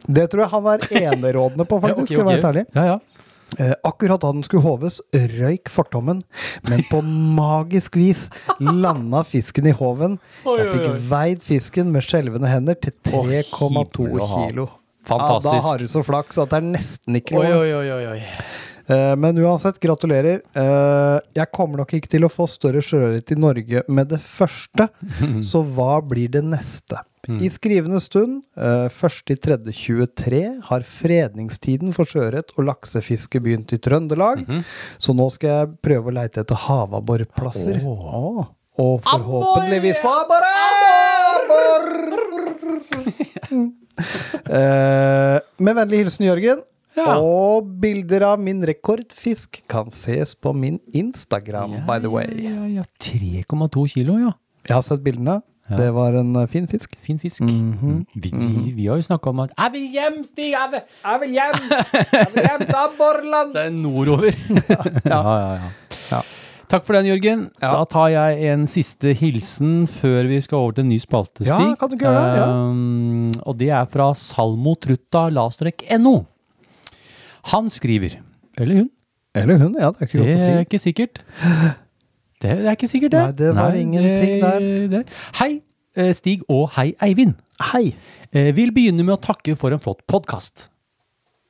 D: Det tror jeg han er enerådende på, faktisk. skal jeg være helt ærlig.
A: *laughs* Ja, ja.
D: Eh, akkurat da den skulle håves, røyk fortommen, men på magisk vis landa fisken i håven.
A: Oi, oi,
D: Jeg
A: oi.
D: fikk veid fisken med skjelvende hender til
A: Å,
D: 3,2
A: himmel og hav.
D: kilo.
A: Fantastisk.
D: Ja, da har du så flaks at det er nesten ikke lov.
A: oi, oi, oi.
D: Eh, Men uansett, gratulerer. Eh, Jeg kommer nok ikke til å få større sjøørret i Norge med det første, så hva blir det neste? I skrivende stund, eh, 1.3.23, har fredningstiden for sjøørret og laksefiske begynt i Trøndelag, så nå skal jeg prøve å leite etter havabborplasser. Åh, Og forhåpentligvis få abbor! Eh, Med vennlig hilsen Jørgen.
A: Ja.
D: Og bilder av min rekordfisk kan ses på min Instagram, by the way.
A: Ja, ja, ja. 3,2 kilo, ja.
D: Jeg har sett bildene. Det var en eh, fin fisk.
A: Fin fisk.
D: Mhm.
A: Mm. vi, vi, vi har jo snakka om at 'Jeg vil hjem, Stig! Jeg vil,
D: Jeg vil hjem! Jeg vil hjem til Abborland!
A: Det er nordover. ja, ja, ja.
D: Ja.
A: Takk for den, Jørgen.
D: Ja.
A: Da tar jeg en siste hilsen før vi skal over til en ny spalte, Stig.
D: Ja, kan du ikke gjøre det? Ja.
A: Ehm, og det er fra salmotrutta-no. Han skriver, eller hun,
D: *laughs* Eller hun. Ja, det er ikke
A: det
D: godt å si.
A: er ikke sikkert. Det er ikke sikkert, det.
D: Nei, det var ingenting der.
A: det- Hei, eh, Stig, og hei, Eivind.
D: Hei!
A: Eh, Vil begynne med å takke for en flott podkast.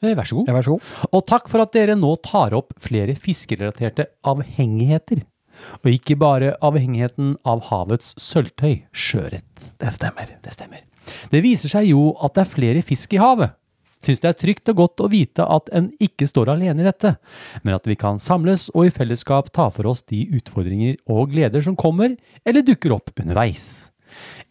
A: Vær så god.
D: Ja, vær så god.
A: Og takk for at dere nå tar opp flere fiskerelaterte avhengigheter. Og ikke bare avhengigheten av havets sølvtøy, sjøørret.
D: Det stemmer.
A: Det stemmer. Det viser seg jo at det er flere fisk i havet. Syns det er trygt og godt å vite at en ikke står alene i dette, men at vi kan samles og i fellesskap ta for oss de utfordringer og gleder som kommer eller dukker opp underveis.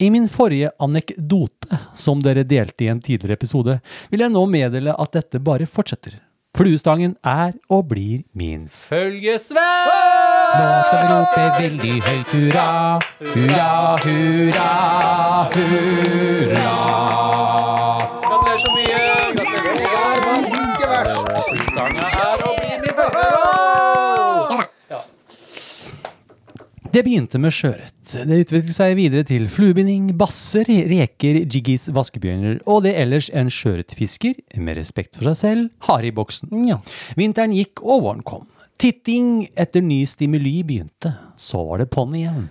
A: I min forrige anekdote, som dere delte i en tidligere episode, vil jeg nå meddele at dette bare fortsetter. Fluestangen er og blir min følgesvenn! Nå skal vi rope veldig høyt hurra, hurra, hurra, hurra. Gratulerer så mye! Gratulerer så mye! Fluestangen er og blir min følgesvenn! Det begynte med sjøørret. Det utviklet seg videre til fluebinding, basser, reker, jiggis, vaskebjørner og det ellers en sjøørretfisker, med respekt for seg selv, har i boksen. Vinteren gikk og våren kom. Titting etter ny stimuli begynte. Så var det ponni igjen.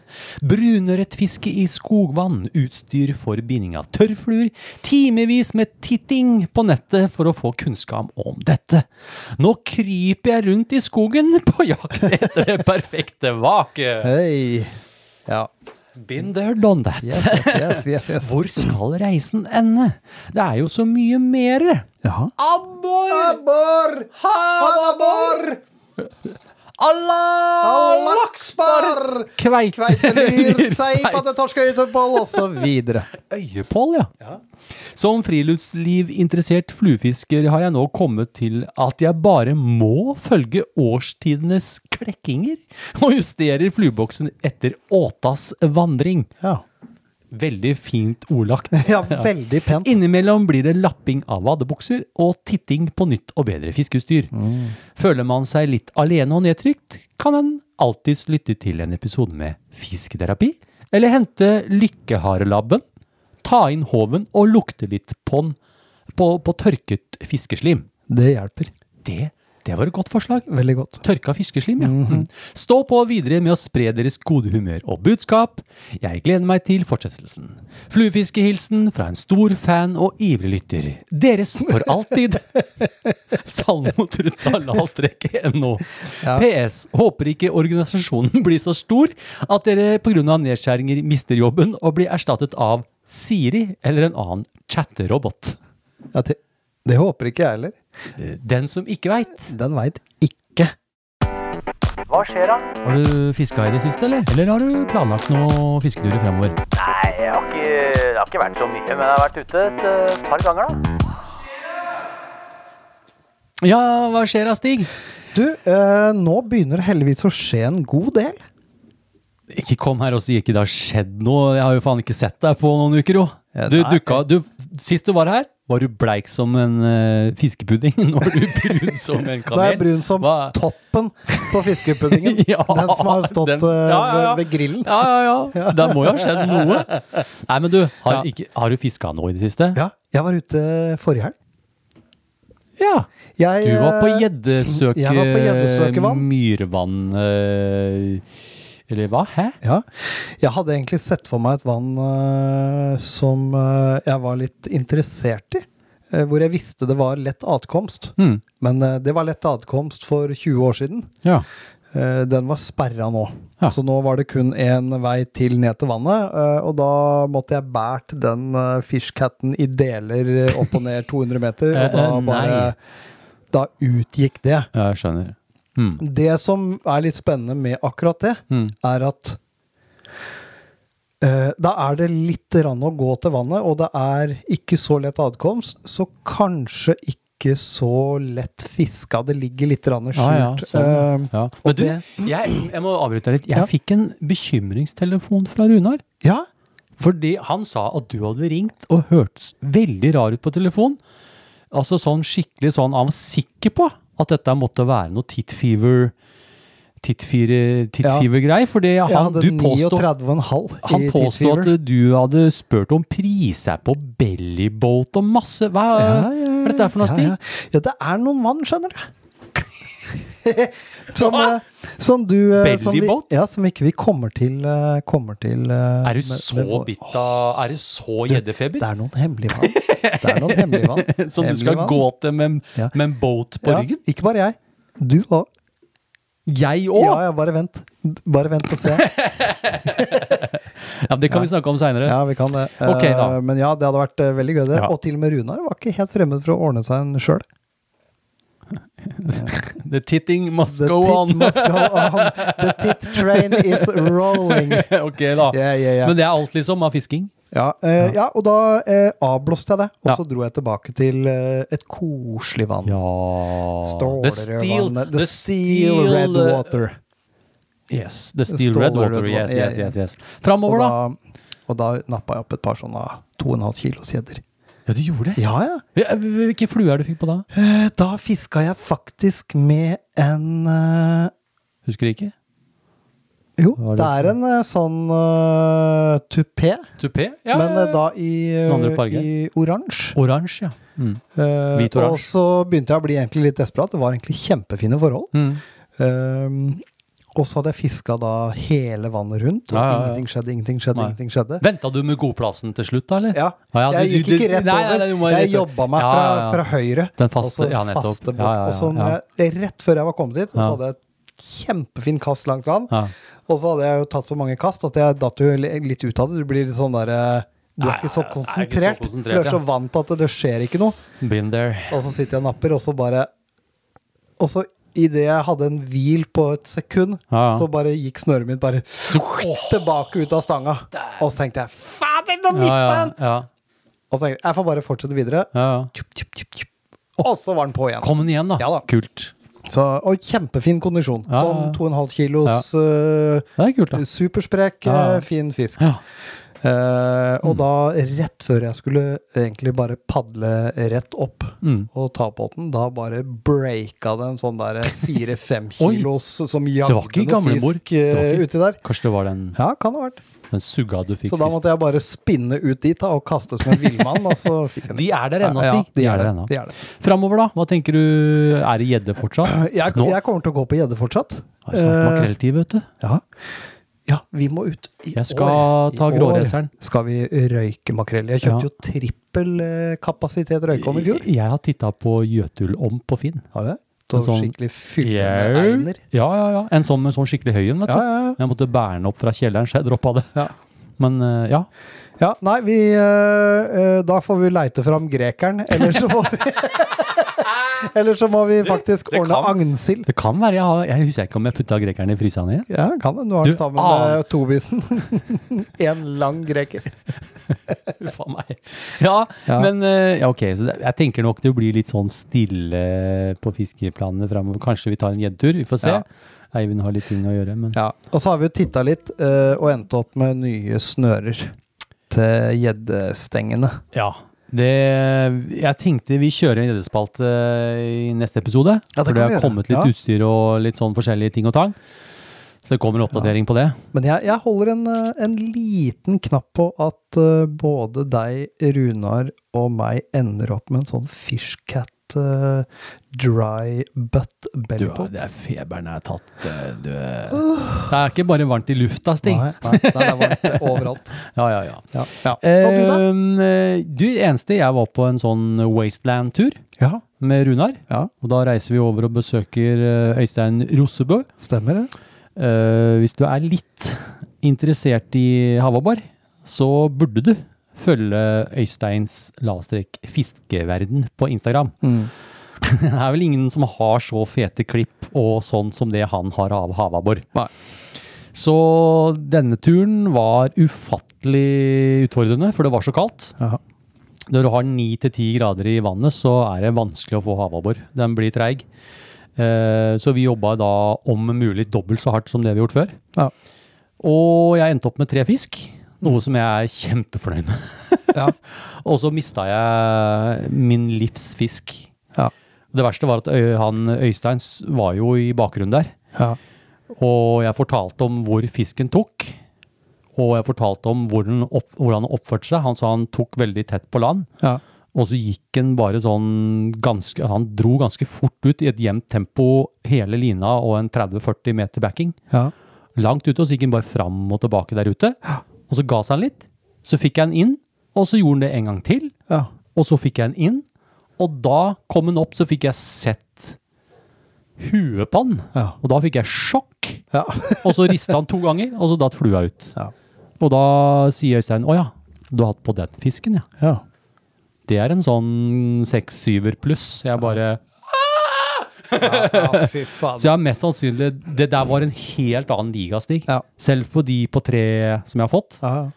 A: Brunørretfiske i skogvann, utstyr for binding av tørrfluer, timevis med titting på nettet for å få kunnskap om dette. Nå kryper jeg rundt i skogen på jakt etter det perfekte vaket.
D: Hei! Ja.
A: Been there, done that.
D: Yes, yes, yes. yes, yes.
A: *laughs* Hvor skal reisen ende? Det er jo så mye mer.
D: Jaha.
A: Abbor!
D: Abbor! Havabbor!
A: Allah!
D: Lakspar!
A: Kveite, *laughs*
D: Kveitelyr,
A: lyr,
D: sei,
A: sei.
D: pattetorsk, øyetopphold, og så videre.
A: Øyepål, ja. Som friluftslivinteressert fluefisker har jeg nå kommet til at jeg bare må følge årstidenes klekkinger og justerer flueboksen etter åtas vandring.
D: Ja.
A: Veldig fint ordlagt.
D: ja, veldig pent.
A: Innimellom blir det lapping av vadebukser og titting på nytt og bedre fiskeutstyr. Føler man seg litt alene og nedtrykt, kan en alltids lytte til en episode med fisketerapi, eller hente lykkeharelabben, ta inn håven og lukte litt på, den- på, på tørket fiskeslim.
D: Det hjelper.
A: Det, det var et godt forslag.
D: Veldig godt.
A: Tørka fiskeslim, ja. Mm. Stå på videre med å spre deres gode humør og budskap. Jeg gleder meg til fortsettelsen. Fluefiskehilsen fra en stor fan og ivrig lytter. Deres for alltid. Salmotrutta lavstreke.no. PS. Håper ikke organisasjonen *laughs* blir så stor at dere pga. nedskjæringer mister jobben og blir erstattet av Siri eller en annen chatterobot.
D: Ja, det, det håper ikke jeg heller.
A: Den som ikke veit.
D: Den veit ikke.
B: Hva skjer da?
A: Har du fiska i det siste, eller? Eller har du planlagt noen fisketurer fremover?
B: Nei, jeg har ikke, det har ikke vært så mye, men jeg har vært ute et eh, par ganger da.
A: Ja, hva skjer da, Stig?
D: Du, eh, nå begynner heldigvis å skje en god del.
A: Ikke kom her og si ikke det har skjedd noe. Jeg har jo faen ikke sett deg på noen uker, jo.
D: Ja,
A: Du
D: nei.
A: dukka du, Sist du var her, var du bleik som en eh, fiskepudding. *laughs* Nå er du brun som en
D: Da er jeg
A: kanel.
D: brun som
A: Hva-
D: toppen på fiskepuddingen.
A: *laughs* Ja,
D: den som har stått
A: den-
D: eh,
A: ja, ja, ja.
D: Ved, ved grillen.
A: Ja, ja, ja. Det må jo ha skjedd noe. Nei, men du, har, ikke, har du fiska noe i det siste?
D: Ja, jeg var ute forrige helg.
A: Ja.
D: Jeg,
A: Du var på
D: eh,
A: gjeddesøk...
D: Jeg var på gjeddesøkevann.
A: Myrvann... eh, eller hva? Hæ?
D: Ja. Jeg hadde egentlig sett for meg et vann eh, som eh, jeg var litt interessert i. eh, hvor jeg visste det var lett atkomst.
A: Mm.
D: Men eh, det var lett atkomst for 20 år siden.
A: Ja.
D: Eh, den var sperra nå.
A: Ja.
D: Så nå var det kun én vei til ned til vannet. eh, og da måtte jeg bært den eh, fishcatten i deler eh, opp og ned 200 meter. Og
A: *laughs*
D: da
A: Eh, eh,
D: bare
A: nei.
D: Da utgikk det.
A: Jeg skjønner. Mm.
D: Det som er litt spennende med akkurat det,
A: Mm.
D: er at Eh, Da er det litt rann å gå til vannet, og det er ikke så lett adkomst, så kanskje ikke så lett fiska. Det ligger litt rann skjult.
A: Ja, ja, sånn,
D: Eh,
A: ja.
D: og
A: Men du,
D: det-
A: jeg, jeg må avbryte deg litt. Jeg
D: Ja.
A: fikk en bekymringstelefon fra Runar.
D: ja.
A: Fordi han sa at du hadde ringt og hørtes veldig rar ut på telefon. Altså sånn skikkelig sånn Han var sikker på at dette måtte være noe tit fever tit fever- tit
D: Ja.
A: fever-greier. Fordi
D: Jeg
A: han,
D: hadde
A: du påstod,
D: 39,5
A: han
D: i
A: påstod
D: tidsgiver.
A: at du hadde spurt om priser på bellyboat og masse Hva
D: Ja, ja,
A: hva er dette her for noe,
D: ja,
A: Stig?
D: Ja, ja, det er noen mann, skjønner du. *laughs* som, eh, som du eh, som vi,
A: Bellybolt?
D: ja, som ikke vi kommer til, eh, kommer til eh,
A: Er du
D: med-
A: så
D: med-
A: bitt av Er du så
D: Det
A: gjeddefeber?
D: er noen hemmelige vann. Det er noen hemmelige
A: *laughs*
D: vann.
A: Som du skal
D: Hemmelige vann.
A: gå til med,
D: Ja.
A: med en boat på ryggen?
D: Ja, ikke bare jeg. Du òg.
A: Jeg òg!
D: Ja,
A: Ja,
D: ja, bare vent. Bare vent og
A: *laughs*
D: se.
A: men det kan vi snakke om seinere.
D: Ja, vi kan det. Eh,
A: Ok, da.
D: Men ja, det hadde vært eh, veldig gøy, det.
A: Ja.
D: Og til og med Runar var ikke helt fremmed for å ordne seg en sjøl.
A: The titting must
D: The
A: go
D: tit
A: on. *laughs*
D: *laughs* must go on. The tit train is *laughs* rolling.
A: ok, da.
D: Yeah, yeah, yeah.
A: Men det er alt, liksom, av fisking?
D: Ja, eh, ja, og da eh, avblåste jeg det, og
A: Ja.
D: så dro jeg tilbake til eh, et koselig vann.
A: Ja
D: Stålerødvannet.
A: The steel,
D: The, steel, red
A: eh,
D: water.
A: Yes. The steel red
D: Stålerød
A: water.
D: vann.
A: Yes,
D: Ja,
A: yes,
D: ja.
A: yes. yes. Framover,
D: Og
A: da.
D: da, og da nappa jeg opp et par sånne 2,5 kilos gjedder.
A: Ja, du gjorde det?
D: Ja, ja.
A: Ja, Hvilke fluer er det du fikk på da?
D: Eh, Da fiska jeg faktisk med en eh,
A: Husker jeg ikke.
D: Jo,
A: Hva er det
D: det er en eh, sånn eh, tupé,
A: Tupé? Ja,
D: men eh,
A: ja, ja.
D: da i, eh,
A: Den andre fargen.
D: i oransje.
A: Oransje, ja. Mm.
D: Eh,
A: Hvit oransje.
D: Og så begynte jeg å bli egentlig litt desperat. Det var egentlig kjempefine forhold.
A: Mm.
D: Eh, og så hadde jeg fiska da hele vannet rundt, og
A: Ja, ja, ja.
D: ingenting skjedde, ingenting skjedde,
A: Nei.
D: ingenting skjedde.
A: Venta du med godplassen til slutt, da, eller?
D: Ja.
A: Ah, ja,
D: jeg
A: du-
D: gikk
A: du-
D: ikke rett
A: nei, nei, nei, du må
D: over. Jeg
A: rett over.
D: jobba meg
A: Ja,
D: fra,
A: ja, ja.
D: fra høyre.
A: Den faste-
D: og så
A: ja, nettopp.
D: faste bort.
A: Ja, ja, ja,
D: Og så når
A: ja.
D: jeg, rett før jeg var kommet dit, og så
A: Ja.
D: hadde jeg et kjempefint kast langt vann.
A: Ja.
D: Og så hadde jeg jo tatt så mange kast at jeg datt jo li- litt ut av det. Du blir litt sånn derre Du
A: Nei,
D: er ikke
A: jeg er ikke så
D: så konsentrert.
A: konsentrert,
D: Du er
A: ja.
D: så vant til at det skjer ikke noe.
A: Been there.
D: Og så sitter jeg og napper, og så bare Og så idet jeg hadde en hvil på et sekund,
A: Ja, ja.
D: så bare gikk snøret mitt bare tilbake ut av stanga. Og så tenkte jeg Fader, nå mista jeg
A: Ja,
D: den!
A: ja,
D: Og så tenkte jeg jeg får bare fortsette videre.
A: ja, ja.
D: Tjup, tjup, tjup, tjup. Og så var den på igjen.
A: Kom den igjen, da.
D: Ja da.
A: Kult.
D: Så, og kjempefin kondisjon.
A: Ja, ja,
D: Sånn
A: ja.
D: 2,5 kilos eh,
A: Det er kult, da.
D: supersprek,
A: Ja, ja. Mm.
D: eh, fin fisk.
A: Ja.
D: Eh, og da, rett før jeg skulle eh, egentlig bare padle rett opp
A: Mm.
D: og ta båten, da bare breaka det en sånn der
A: *laughs*
D: fire-fem
A: Oi.
D: kilos som
A: var ikke
D: jagde noe
A: gamlemor.
D: fisk
A: Det var
D: eh,
A: ikke-
D: uti der.
A: Kanskje det var den,
D: Ja, kan ha vært.
A: den sugga du fikk
D: Så da
A: sist.
D: måtte jeg bare spinne ut dit da, og kaste som en villmann, og så fikk jeg den.
A: De er der ennå,
D: Ja,
A: Stig. De er der ennå.
D: De er det.
A: Framover, da? Hva tenker du? Er det gjedde fortsatt?
D: *clears throat* Jeg,
A: Nå
D: jeg kommer til å gå på gjedde fortsatt.
A: er det snart makrelltid, vet du.
D: Eh, ja. ja, vi må ut i
A: Jeg skal
D: år. I
A: ta
D: år
A: gråreseren.
D: Skal vi røyke makrell? Jeg
A: Ja.
D: kjøpte jo trippel eh, kapasitet røykeovn i fjor.
A: Jeg- Jeg har titta på Jøtulom på Finn.
D: Har du det? Til
A: sånn-
D: skikkelig fyllende einer.
A: Ja, ja, ja. En sånn med sånn skikkelig høy en, vet du.
D: Ja, ja, ja.
A: Jeg måtte bære den opp fra kjelleren, så jeg droppa det.
D: Ja.
A: Men eh, ja.
D: ja, nei, vi eh, eh, Da får vi leite fram grekeren, eller så må
A: *laughs*
D: vi Eller så må vi faktisk
A: det
D: ordne
A: kan-
D: agnsild.
A: Det kan være jeg har Jeg husker ikke om jeg putta grekeren i fryseren
D: *laughs*
A: igjen.
D: Ja, kan det. Nå er
A: Du
D: det sammen
A: aner-
D: med
A: *laughs*
D: Tobisen. en lang greker.
A: Huff a meg. Ja,
D: Ja.
A: men eh, ja, ok. Så det, jeg tenker nok det blir litt sånn stille på fiskeplanene framover. Kanskje vi tar en gjeddetur, vi får se.
D: Ja.
A: Eivind har litt ting å gjøre, men
D: Ja, og så har vi jo titta litt, eh, og endte opp med nye snører til gjeddestengene.
A: Ja. Det, jeg tenkte vi kjører en gjeddespalte i neste episode.
D: Ja,
A: for
D: det kan
A: det
D: vi
A: har
D: gjøre.
A: kommet litt
D: Ja.
A: utstyr og litt sånn forskjellige ting og tang. Så det kommer en oppdatering på det.
D: Men jeg, jeg holder en, eh, en liten knapp på at eh, både deg, Runar, og meg ender opp med en sånn fishcat eh, dry butt
A: Du,
D: bellypot.
A: det er feberen jeg har tatt. eh, Du, det er ikke bare varmt i lufta, Stig.
D: Nei, nei, nei, det er varmt overalt.
A: Ja, ja, ja.
D: Ja. Ja. Og du, da?
A: Eh, du, eneste jeg var på en sånn wasteland-tur
D: *laughs* Ja.
A: med Runar.
D: ja,
A: Og da reiser vi over og besøker eh, Øystein Rosebø.
D: stemmer det.
A: Eh, hvis du er litt interessert i havabbor, så burde du følge Øysteins lavstrek fiskeverden på Instagram. *laughs*
D: Mm.
A: Det er vel ingen som har så fete klipp og sånn som det han har av havabbor.
D: Nei.
A: Så denne turen var ufattelig utfordrende, for det var så kaldt.
D: Jaha.
A: Når du har 9-10 grader i vannet, så er det vanskelig å få havabbor. Den blir treig. Eh, Så vi jobba da om mulig dobbelt så hardt som det vi har gjort før.
D: Ja. Mm.
A: Og jeg endte opp med tre fisk, noe som jeg er kjempefornøyd med.
D: Ja.
A: *laughs* Og så mista jeg min livs fisk.
D: Ja.
A: Det verste var at Øy- han Øystein s- var jo i bakgrunnen der.
D: Ja.
A: Og jeg fortalte om hvor fisken tok. Og jeg fortalte om hvor den opp, hvordan han oppførte seg. Han sa han tok veldig tett på land.
D: Ja.
A: Og så gikk han bare sånn ganske Han dro ganske fort ut i et jevnt tempo hele lina og en 30-40 meter backing.
D: Ja.
A: Langt ute, og så gikk han bare fram og tilbake der ute. Og så ga seg han litt. Så fikk jeg han inn, og så gjorde han det en gang til.
D: Ja.
A: Og så fikk jeg han inn, og da kom han opp, så fikk jeg sett huet på han.
D: Ja.
A: Og da fikk jeg sjokk.
D: Ja.
A: Og så rista han to ganger, og så datt flua ut.
D: Ja.
A: Og da sier Øystein å ja, du har hatt på den fisken, ja.
D: Ja.
A: Det er en sånn seks-syver pluss. Jeg bare
D: ja Ah, fy faen.
A: Så jeg har mest sannsynlig Det der var en helt annen ligastig.
D: Ja.
A: Selv på de på tre som jeg har fått.
D: Ja. ja.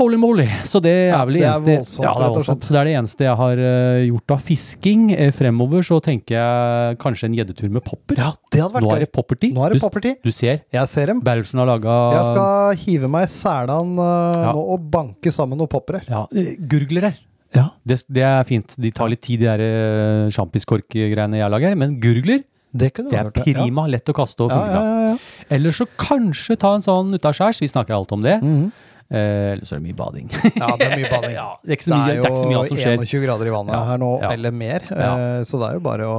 A: Holy moly! Så det er vel det,
D: det er
A: eneste ja, det,
D: voldsomt, rett
A: er
D: og slett.
A: voldsomt. Så det er det eneste jeg har eh, gjort av fisking. Eh, fremover så tenker jeg kanskje en gjeddetur med popper.
D: Ja, det hadde vært
A: Nå er det
D: gøy.
A: poppertid.
D: Nå er det
A: Du-
D: poppertid.
A: Du ser.
D: Jeg ser dem.
A: Berlsen har laga
D: Jeg skal hive meg i selene eh,
A: Ja.
D: nå og banke sammen noen popper her.
A: ja, eh, gurgler her.
D: Ja.
A: Det, det er fint. De tar litt tid, de der eh, sjampiskorkgreiene jeg lager. Men gurgler,
D: Det kunne du
A: det er
D: hørt. ja.
A: prima. Lett å kaste og
D: Ja,
A: fingra.
D: ja, ja, ja.
A: Eller så kanskje ta en sånn utaskjærs. Vi snakker alt om det.
D: Mhm.
A: Eh, Eller så er det mye
D: *laughs*
A: bading.
D: ja, det er mye bading.
A: *laughs* ja, det er ikke så mye, det er ikke så mye annet som skjer.
D: 21 grader i vannet
A: Ja,
D: her nå,
A: ja.
D: eller mer.
A: Ja.
D: eh, Så det er jo bare å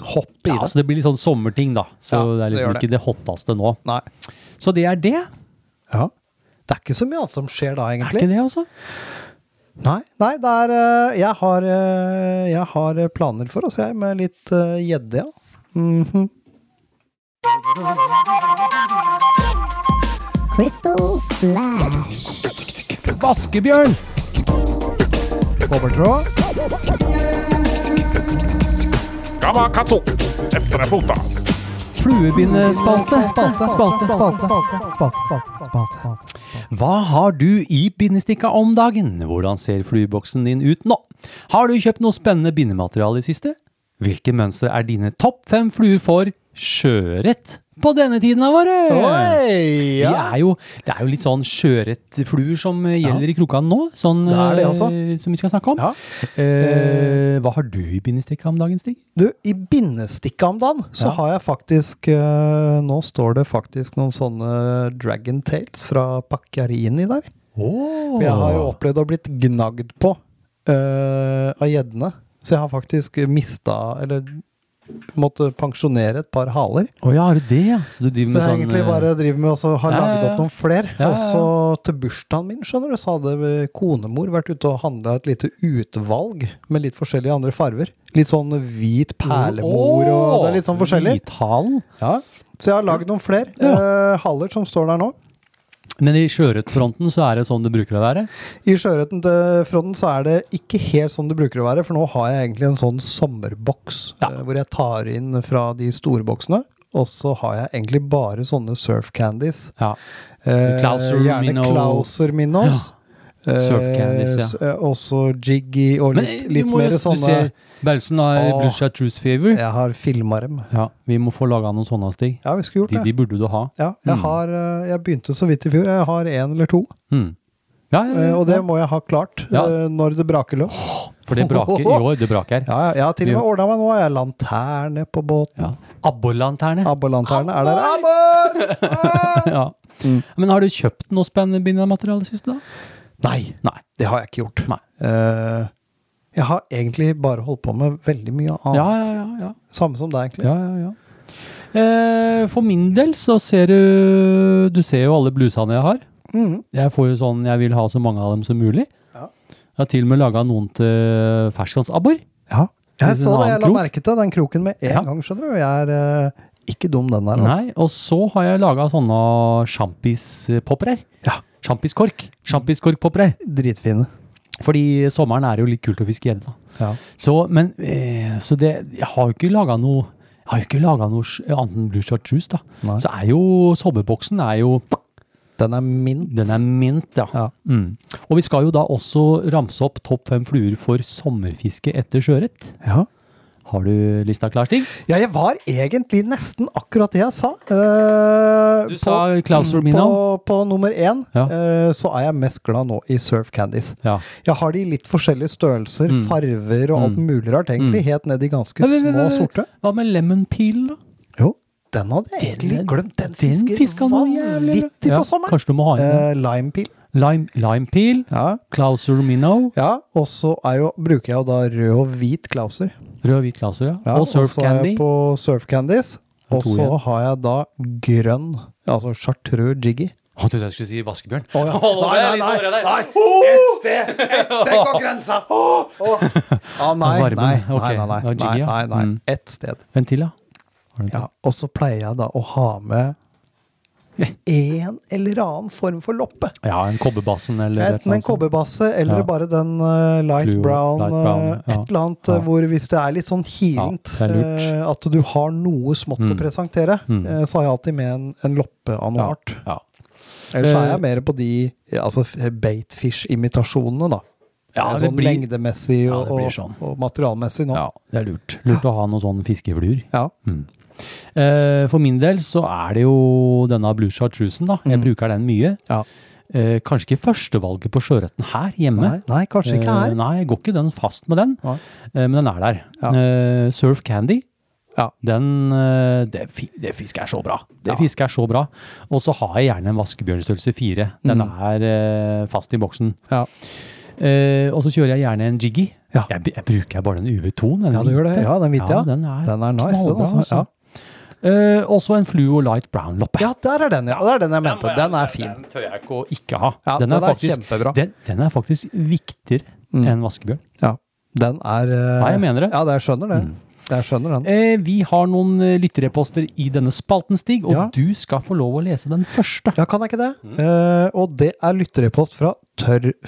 D: hoppe i
A: Ja,
D: det.
A: så det blir litt sånn sommerting, da. Så
D: Ja,
A: det er
D: det
A: liksom
D: gjør det.
A: ikke det hotteste nå.
D: Nei.
A: Så det er det.
D: Ja. Det er ikke så mye annet som skjer da,
A: Er
D: egentlig.
A: ikke det, altså?
D: Nei, nei det er, eh, jeg, har, eh, jeg har eh, planer for oss, jeg, med litt eh, gjedde, ja. Mhm.
E: Crystal Flash.
A: Vaskebjørn!
D: Kobbertråd.
C: Gamakatsu! Etter deg fota.
A: Fluebindespalte.
D: Spalte, spalte, spalte, spalte,
A: Hva har du i bindestikka om dagen? Hvordan ser flueboksen din ut nå? Har du kjøpt noe spennende bindemateriale i siste? Hvilke mønstre er dine topp fem fluer for sjøørret på denne tiden av året?
D: Oi,
A: Vi
D: ja.
A: er jo, det er jo litt sånn sjøørretfluer som eh, gjelder i krokene nå, sånn,
D: Det er det
A: eh,
D: altså.
A: som vi skal snakke om.
D: Ja.
A: Eh, hva har du i bindestikka om dagen, Stig?
D: Du, i bindestikka om dagen, så
A: Ja.
D: har jeg faktisk eh, Nå står det faktisk noen sånne Dragon Tales fra Pacchiarini der. For jeg har jo opplevd å blitt gnagd på eh, av gjeddene. Så jeg har faktisk mista Eller måtte pensjonere et par haler.
A: Å ja, har du det, ja? Så du driver
D: Så
A: med
D: jeg
A: sånn
D: egentlig
A: eh,
D: bare driver med å ha
A: Ja, ja,
D: laget
A: ja.
D: opp noen flere.
A: Ja, ja, ja.
D: Og så til bursdagen min, skjønner du, så hadde konemor vært ute og handla et lite utvalg med litt forskjellige andre farver. Litt sånn hvit perlemor og Det er litt sånn forskjellig.
A: Hvithalen.
D: Ja. Så jeg har lagd noen flere eh, haler som står der nå.
A: Men i sjøørretfronten så er det sånn det bruker å være?
D: I sjøørreten til Frodden så er det ikke helt sånn det bruker å være, for nå har jeg egentlig en sånn sommerboks
A: Ja.
D: eh, hvor jeg tar inn fra de store boksene. Og så har jeg egentlig bare sånne surf candies.
A: Ja.
D: Eh,
A: Klauser
D: gjerne
A: Minnows.
D: Klauser Minnows.
A: Surf candies, ja.
D: Eh, s- eh, også Jiggy og
A: Men
D: litt,
A: eh,
D: litt
A: du må
D: mer
A: jo du
D: sånne
A: ser, Bausen har
D: Åh.
A: Blusha Truce Fever. Ja.
D: Jeg har filma dem.
A: Vi må få laga noen sånne, Stig.
D: Ja, vi skulle gjort
A: De,
D: det.
A: de Mm. burde du ha.
D: Ja, jeg, har, eh, jeg begynte så vidt i fjor. Jeg har én eller to.
A: Mm. Ja, ja, Mm,
D: eh,
A: ja,
D: Og det må jeg ha klart
A: Ja.
D: eh, når det braker løs.
A: For det braker i år. Det braker.
D: *laughs* Ja, ja, jeg har til og med ordna meg nå. Jeg har lanterne på båten.
A: Ja. Abborlanterne.
D: Abborlanterne er der.
A: *laughs* ja. Men har du kjøpt noe spennende bindemateriale sist, da?
D: Nei,
A: Nei.
D: det har jeg ikke gjort.
A: Nei.
D: Eh, jeg har egentlig bare holdt på med veldig mye annet.
A: Ja, ja, ja. ja.
D: Samme som deg, egentlig.
A: ja, ja, ja. Eh, for min del så ser du Du ser jo alle blusene jeg har.
D: Mhm.
A: Jeg får jo sånn, jeg vil ha så mange av dem som mulig. Jeg har til og med laga noen til fersklandsabbor.
D: Ja. Jeg
A: Hvis
D: så
A: en
D: det,
A: annen
D: jeg la
A: krok.
D: merke til den kroken med en
A: Ja.
D: gang, skjønner du. Jeg er eh, ikke dum, den der. altså.
A: Nei, Og så har jeg laga sånne sjampispopper her.
D: Ja.
A: Sjampiskork. Sjampiskorkpopper her.
D: Dritfine.
A: Fordi sommeren er jo litt kult å fiske gjedde. da.
D: Ja.
A: Så, men, eh, så det, jeg har jo ikke laga noe Jeg har jo ikke laga noe sj- annet enn blue shot juice, da.
D: Nei.
A: Så er jo sommerboksen er jo
D: Den er mint.
A: Den er mint, ja.
D: Ja.
A: Mm. Og vi skal jo da også ramse opp topp fem fluer for sommerfiske etter sjøørret.
D: Ja.
A: Har du lista klar, Stig?
D: Ja, jeg var egentlig nesten akkurat det jeg sa. Eh,
A: Du
D: på-
A: sa Klaus Romino.
D: På, på nummer én
A: Ja.
D: eh, så er jeg mest glad nå i Surf Candies.
A: Ja.
D: Jeg har de i litt forskjellige størrelser, farver og alt mulig rart, egentlig. Helt ned i ganske
A: Mm. Men, men,
D: små
A: men,
D: sorte.
A: Hva med lemon peel, da?
D: Jo, den hadde jeg egentlig
A: Den-
D: glemt. Den
A: Den
D: fisker
A: fiska noe jævlig bra.
D: vanvittig
A: Ja,
D: på sommeren.
A: Kanskje du må ha inn den.
D: Eh, limepeel.
A: Lime, lime peel,
D: Ja.
A: Klauser Mino,
D: ja og så er jo, bruker jeg jo da rød og hvit klauser.
A: rød og hvit Klauser, ja.
D: Ja,
A: og Surf
D: så er
A: Candy.
D: jeg På Surf Candies.
A: Og
D: Og
A: to
D: så
A: igjen.
D: har jeg da grønn, altså chartreux jiggy.
A: Å, du trodde jeg skulle si vaskebjørn.
D: Å, ja.
A: Å, det er litt sånn der.
D: Ett sted! Ett sted går grensa! Å, å.
A: *laughs*
D: Ah, nei,
A: Varmen,
D: nei, nei,
A: ok.
D: nei, nei,
A: Ja,
D: nei,
A: jiggy, ja.
D: nei, nei.
A: Mm.
D: Ett sted.
A: En til, ja.
D: Ja, og så pleier jeg da å ha med en eller annen form for loppe.
A: Ja, en kobberbassen eller et
D: Enten
A: eller
D: en
A: annet sånt.
D: kobberbasse eller
A: Ja.
D: bare den eh, light
A: Fluor,
D: brown,
A: light brown,
D: eh,
A: ja.
D: et eller annet eh,
A: Ja.
D: hvor hvis det er litt sånn hilent,
A: Ja, det er lurt.
D: eh, at du har noe smått å
A: Mm.
D: presentere,
A: Mm.
D: eh, så har jeg alltid med en, en loppe av noe art.
A: Ja.
D: Ellers er
A: Eh,
D: jeg mer på de ja, altså f- baitfish-imitasjonene, da.
A: Ja, det
D: sånn
A: blir-
D: mengdemessig
A: Ja,
D: og,
A: det blir sånn.
D: og, og materialmessig nå.
A: ja, det er lurt. Lurt å ha noen sånne fiskefluer.
D: Ja.
A: Eh, For min del så er det jo denne Blue Chartrusen, da.
D: Mm.
A: Jeg bruker den mye.
D: Ja.
A: Eh, Kanskje ikke førstevalget på sjøørreten her hjemme.
D: Nei, nei, kanskje ikke
A: Eh,
D: her.
A: Nei, jeg går ikke den fast med den,
D: Nei.
A: Eh, men den er der.
D: Ja.
A: Eh, Surf Candy.
D: Ja.
A: Den, eh, det, fi- det fisket er så bra. Det
D: Ja.
A: fisket er så bra. Og så har jeg gjerne en vaskebjørnstørrelse fire. Den
D: Mm.
A: er eh, fast i boksen.
D: Ja.
A: Eh, og så kjører jeg gjerne en jiggy.
D: Ja.
A: Jeg, b- jeg bruker bare den UV2-en.
D: Ja, du gjør det. Ja, den hvite, ja.
A: Den er,
D: Den er nice, den,
A: knallbra,
D: altså.
A: altså. Eh, også en Fluo Light Brown-loppe.
D: Ja, der er den, ja. Det er den jeg mente. Den er fin.
A: Den tør jeg ikke å ikke ha.
D: Ja,
A: den, er faktisk,
D: kjempebra. Mm.
A: den, den er faktisk viktigere enn vaskebjørn.
D: Ja, den er eh,
A: Nei, jeg mener det. Mm.
D: Ja, det, jeg skjønner det. Jeg skjønner den.
A: Eh, vi har noen eh, lyttereposter i denne spalten, Stig, og
D: Ja.
A: du skal få lov å lese den første.
D: Ja, kan jeg ikke det? Eh, og det er lytterepost fra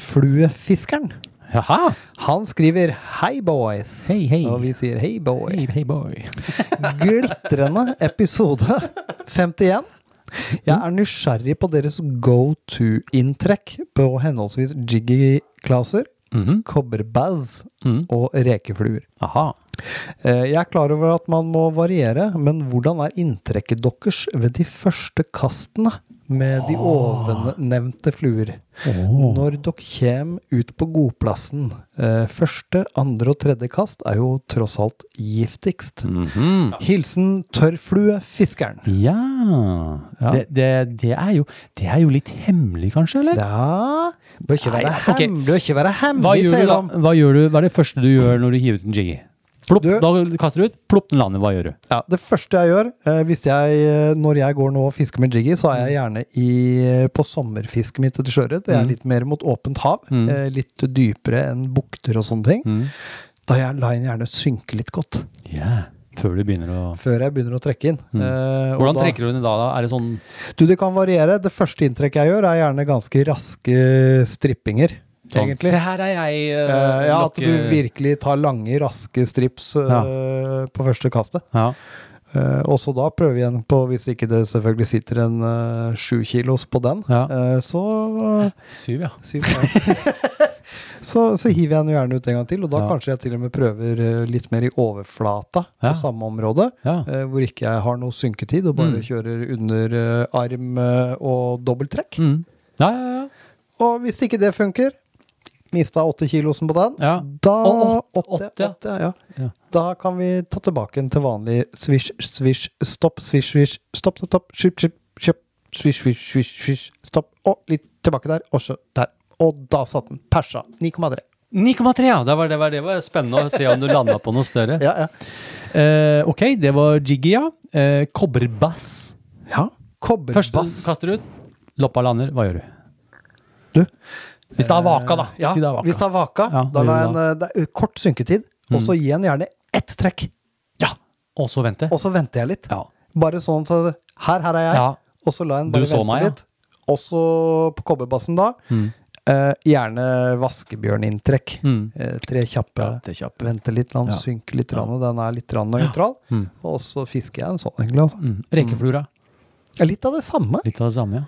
D: Tørrfluefiskeren.
A: Jaha!
D: Han skriver 'Hei, boys'.
A: Hei, hei.
D: Og vi sier 'Hei, boy'.
A: Hey, hey boy.
D: *laughs* Glitrende episode 51. Jeg er nysgjerrig på deres go to-inntrekk på henholdsvis Jiggy Klauser,
A: Mhm,
D: Kobberbaz
A: mhm.
D: og rekefluer.
A: Aha.
D: Eh, Jeg er klar over at man må variere, men hvordan er inntrekket deres ved de første kastene med
A: Ah.
D: de ovennevnte fluer?
A: Åh.
D: Når dere kommer ut på godplassen eh, Første, andre og tredje kast er jo tross alt giftigst.
A: Mhm.
D: Hilsen tørrfluefiskeren.
A: Ja, Det, det, det, er jo, det er jo litt hemmelig, kanskje? eller?
D: Ja Bør ikke være
A: Nei, ok.
D: hemmelig, bør ikke være
A: Hva
D: hemmelig,
A: gjør,
D: sier
A: du da?
D: de.
A: Hva, gjør du? hva er det første du gjør når du hiver ut en jiggy? Plopp,
D: Du-
A: da kaster du ut, plopp den lander. Hva gjør du?
D: Ja, det første jeg gjør, eh, hvis jeg, eh, når jeg går nå og fisker med jiggy, så er jeg gjerne i, eh, på sommerfisket mitt etter
A: Mm.
D: sjøørret. hvor Jeg er litt mer mot åpent hav. eh, Litt dypere enn bukter og sånne
A: Mm.
D: ting. Da jeg lar den gjerne synke litt godt,
A: Ja, Før du begynner å
D: før jeg begynner å trekke inn.
A: Mm.
D: Eh,
A: Hvordan trekker du den da? da? Er det sånn
D: Du, det kan variere. Det første inntrekket jeg gjør, er gjerne ganske raske strippinger.
A: sånn
D: Egentlig.
A: Se, her er jeg. eh,
D: Eh, ja, at
A: lokke-
D: du virkelig tar lange, raske strips eh, på første kastet.
A: ja.
D: Eh, og så da prøve igjen på, hvis ikke det selvfølgelig sitter en eh, sju kilos på den,
A: Ja.
D: eh, så, eh,
A: Syv, ja.
D: syv,
A: *laughs*
D: ja. så Så hiver jeg den gjerne ut en gang til, og da
A: Ja.
D: kanskje jeg til og med prøver eh, litt mer i overflata
A: Ja.
D: på samme område,
A: ja.
D: eh, hvor ikke jeg har noe synketid og bare
A: Mm.
D: kjører under eh, arm eh, og dobbelttrekk.
A: Mm. Ja, ja, ja.
D: Og hvis ikke det funker, mista åtte kilosen på den,
A: Ja.
D: da,
A: Å, åt-
D: åtte,
A: åtte, ja.
D: åtte, ja.
A: Ja.
D: da kan vi ta tilbake den til vanlig svisj, svisj, stopp, svisj, svisj, stopp, stopp, stopp, skip, skip, skip, svisj, svisj, svisj, svisj, stopp, og litt tilbake der, og så der. Og da satt den. Persa. 9,3.
A: 9,3, ja. Det var, det, var, det var spennende å se om du landa på noe større.
D: *laughs* Ja, ja.
A: Eh, ok, det var jiggy, ja. Eh, kobberbass.
D: ja.
A: Først
D: Kobberbass.
A: kaster du ut, loppa lander. Hva gjør du?
D: Du. eh,
A: Hvis det er vaka, da.
D: Ja,
A: si det er vaka.
D: hvis det er vaka,
A: Ja,
D: da
A: det Mm.
D: lar jeg
A: gjør
D: en eh, det er kort synketid, og så gi den gjerne ett trekk.
A: Ja. Og så vente.
D: Og så venter jeg litt.
A: Ja.
D: Bare sånn at her, her er jeg.
A: Ja.
D: Og så la jeg den
A: Du
D: bare
A: så Mm.
D: vente
A: meg, ja.
D: litt. Også på kobberbassen da. Eh, gjerne vaskebjørninntrekk.
A: Mm.
D: Eh, tre kjappe.
F: Ja, til kjapp.
D: Vente litt, la den
F: Ja.
D: synke litt. Rann, den er litt rann nøytral.
A: Mm.
D: Og så fisker jeg en sånn, egentlig. altså.
A: Mm. Rekeflura.
D: Ja, Litt av det samme.
A: Litt av det samme, ja.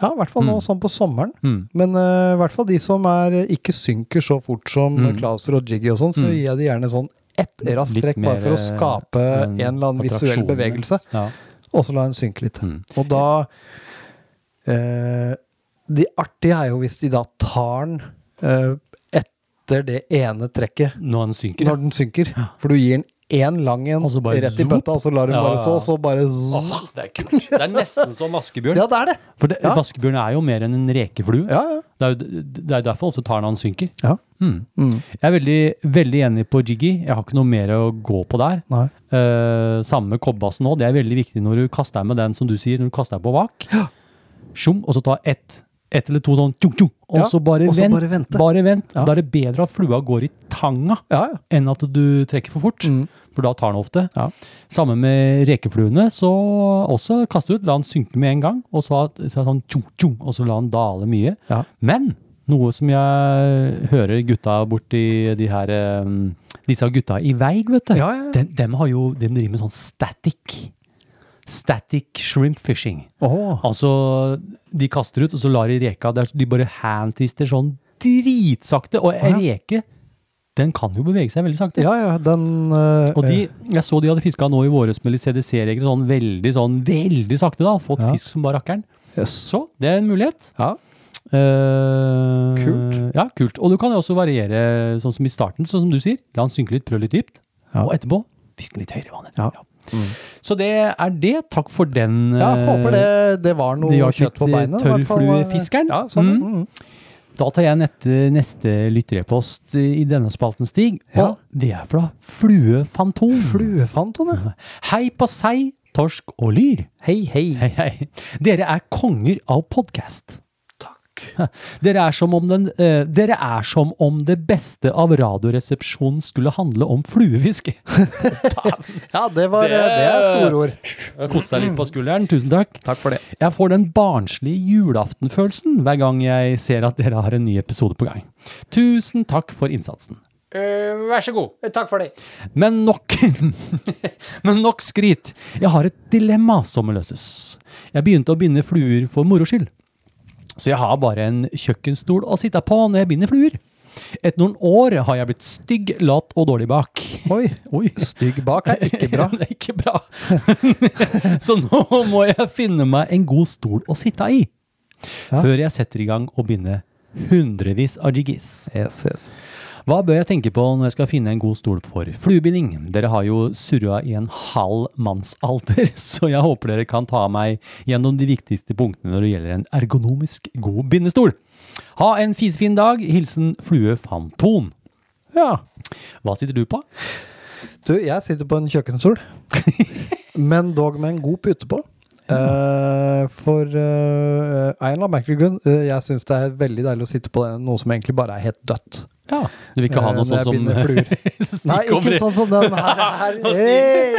D: Ja, i hvert fall nå
A: Mm.
D: sånn på sommeren.
A: Mm.
D: Men eh, i hvert fall de som er, eh, ikke synker så fort som
A: Mm.
D: Klauser og Jiggy og sånn, så
A: Mm.
D: gir jeg de gjerne sånn ett raskt
A: Litt
D: trekk, bare for
A: mer,
D: å skape
A: eh,
D: en
A: en
D: eller annen visuell
A: attraksjon,
D: bevegelse.
A: ja.
D: Og så la den synke litt.
A: Mm.
D: Og da eh, Det artige er jo hvis de da tar den eh, etter det ene trekket,
A: Når den synker.
D: når den synker. For du gir den én lang en
A: Og så bare
D: rett i
A: zoop.
D: bøtta, og så lar du den
A: Ja,
D: bare
A: ja,
D: stå,
A: ja.
D: og så bare zzz.
A: Åh, det er kult. Det er nesten som vaskebjørn.
D: Ja, det er det!
A: For det,
D: Ja.
A: vaskebjørn er jo mer enn en rekeflue.
D: Ja, ja.
A: Det er jo det er jo derfor også tar den når den synker.
D: Ja.
A: Mm.
D: Mm.
A: Jeg er veldig, veldig enig på Jiggy. Jeg har ikke noe mer å gå på der.
D: Nei.
A: Eh, samme med kobbasen nå. Det er veldig viktig når du kaster deg med den, som du sier, når du kaster deg på bak. Tjom, og så ta ett ett eller to sånn tjong, tjong, og
D: Ja,
A: så bare
D: og så
A: vent.
D: bare vente.
A: Bare vent.
D: Ja.
A: Da er det bedre at flua går i tanga
D: Ja, ja.
A: enn at du trekker for fort.
D: Mm.
A: For da tar den ofte.
D: Ja.
A: Samme med rekefluene. Så også kaste ut, la den synke med en gang, og så, at- så sånn tjong, tjong, og så la den dale mye.
D: Ja.
A: Men noe som jeg hører gutta borti de her eh, Disse gutta i Veig, vet du.
D: Ja, ja, ja.
A: Dem, dem har jo, dem driver med sånn static. Static shrimp fishing.
D: Åh.
A: Altså, de kaster ut, og så lar de reka der, De bare handtwister sånn dritsakte. Og en reke, den kan jo bevege seg veldig sakte.
D: Ja, ja, den eh,
A: Og de,
D: eh,
A: jeg så de hadde fiska nå i våres med litt CDC-reker, sånn veldig sånn, veldig sakte. da, Fått
D: Ja.
A: fisk som bare rakkeren.
D: Jøss.
A: Så det er en mulighet.
D: eh, Ja.
A: Eh,
D: Kult.
A: Ja, kult. Og du kan jo også variere, sånn som i starten, sånn som du sier. La den synke litt, prøv litt dypt.
D: Ja.
A: Og etterpå fisk den litt høyere i vannet.
D: Ja.
A: Så det er det. Takk for den.
D: Ja, jeg håper det, det var noe
A: de har
D: kjøtt på
A: litt, eh,
D: beinet. i hvert fall, eh,
A: tørrfluefiskeren.
D: Ja, sånn,
A: Mm.
D: mm.
A: Da tar jeg nette, neste lytterepost i denne spalten, Stig.
D: Ja.
A: Og det er fra Fluefantom.
D: Mm. Fluefanton, ja.
A: Hei på seg, torsk og lyr.
D: Hei, hei.
A: Hei, hei. Dere er konger av podkast. Takk. Dere er, som om den, eh, dere er som om det beste av Radioresepsjonen skulle handle om fluefiske.
D: Ja, det, var, eh,
A: Det-
D: det... det er store ord.
A: Koste deg litt på skulderen. Tusen takk.
D: Takk for det.
A: Jeg får den barnslige julaftenfølelsen hver gang jeg ser at dere har en ny episode på gang. Tusen takk for innsatsen. Eh, vær så god.
D: Eh, Takk for det.
A: Men nok, *laughs* men nok skryt. Jeg har et dilemma som må løses. Jeg begynte å binde fluer for moro skyld. Så jeg har bare en kjøkkenstol å sitte på når jeg binder fluer. Etter noen år har jeg blitt stygg, lat og dårlig bak. *laughs*
D: Oi.
A: Oi.
D: Stygg bak er ikke bra.
A: Det er *laughs* ikke bra. Så nå må jeg finne meg en god stol å sitte i.
D: Ja.
A: Før jeg setter i gang å binde hundrevis av jiggis.
D: Yes, yes.
A: Hva bør jeg tenke på når jeg skal finne en god stol for fluebinding? Dere har jo surra i en halv mannsalder, *laughs* så jeg håper dere kan ta meg gjennom de viktigste punktene når det gjelder en ergonomisk god bindestol. Ha en fisefin dag. Hilsen Flue Fanton.
D: Ja.
A: Hva sitter du på?
D: Du, jeg sitter på
A: *laughs*
D: en kjøkkenstol, men dog med en god pute på. Eh, for eh, en eller annen merkelig grunn, eh, jeg syns det er veldig deilig å sitte på den, noe som egentlig bare er helt dødt.
A: Ja, Du vil ikke ha
D: Eh,
A: noe
D: når
A: sånn
D: jeg
A: som
D: binder
A: *laughs*
D: fluer. Nei, ikke sånn som den her. her.
A: Nå
D: Hey!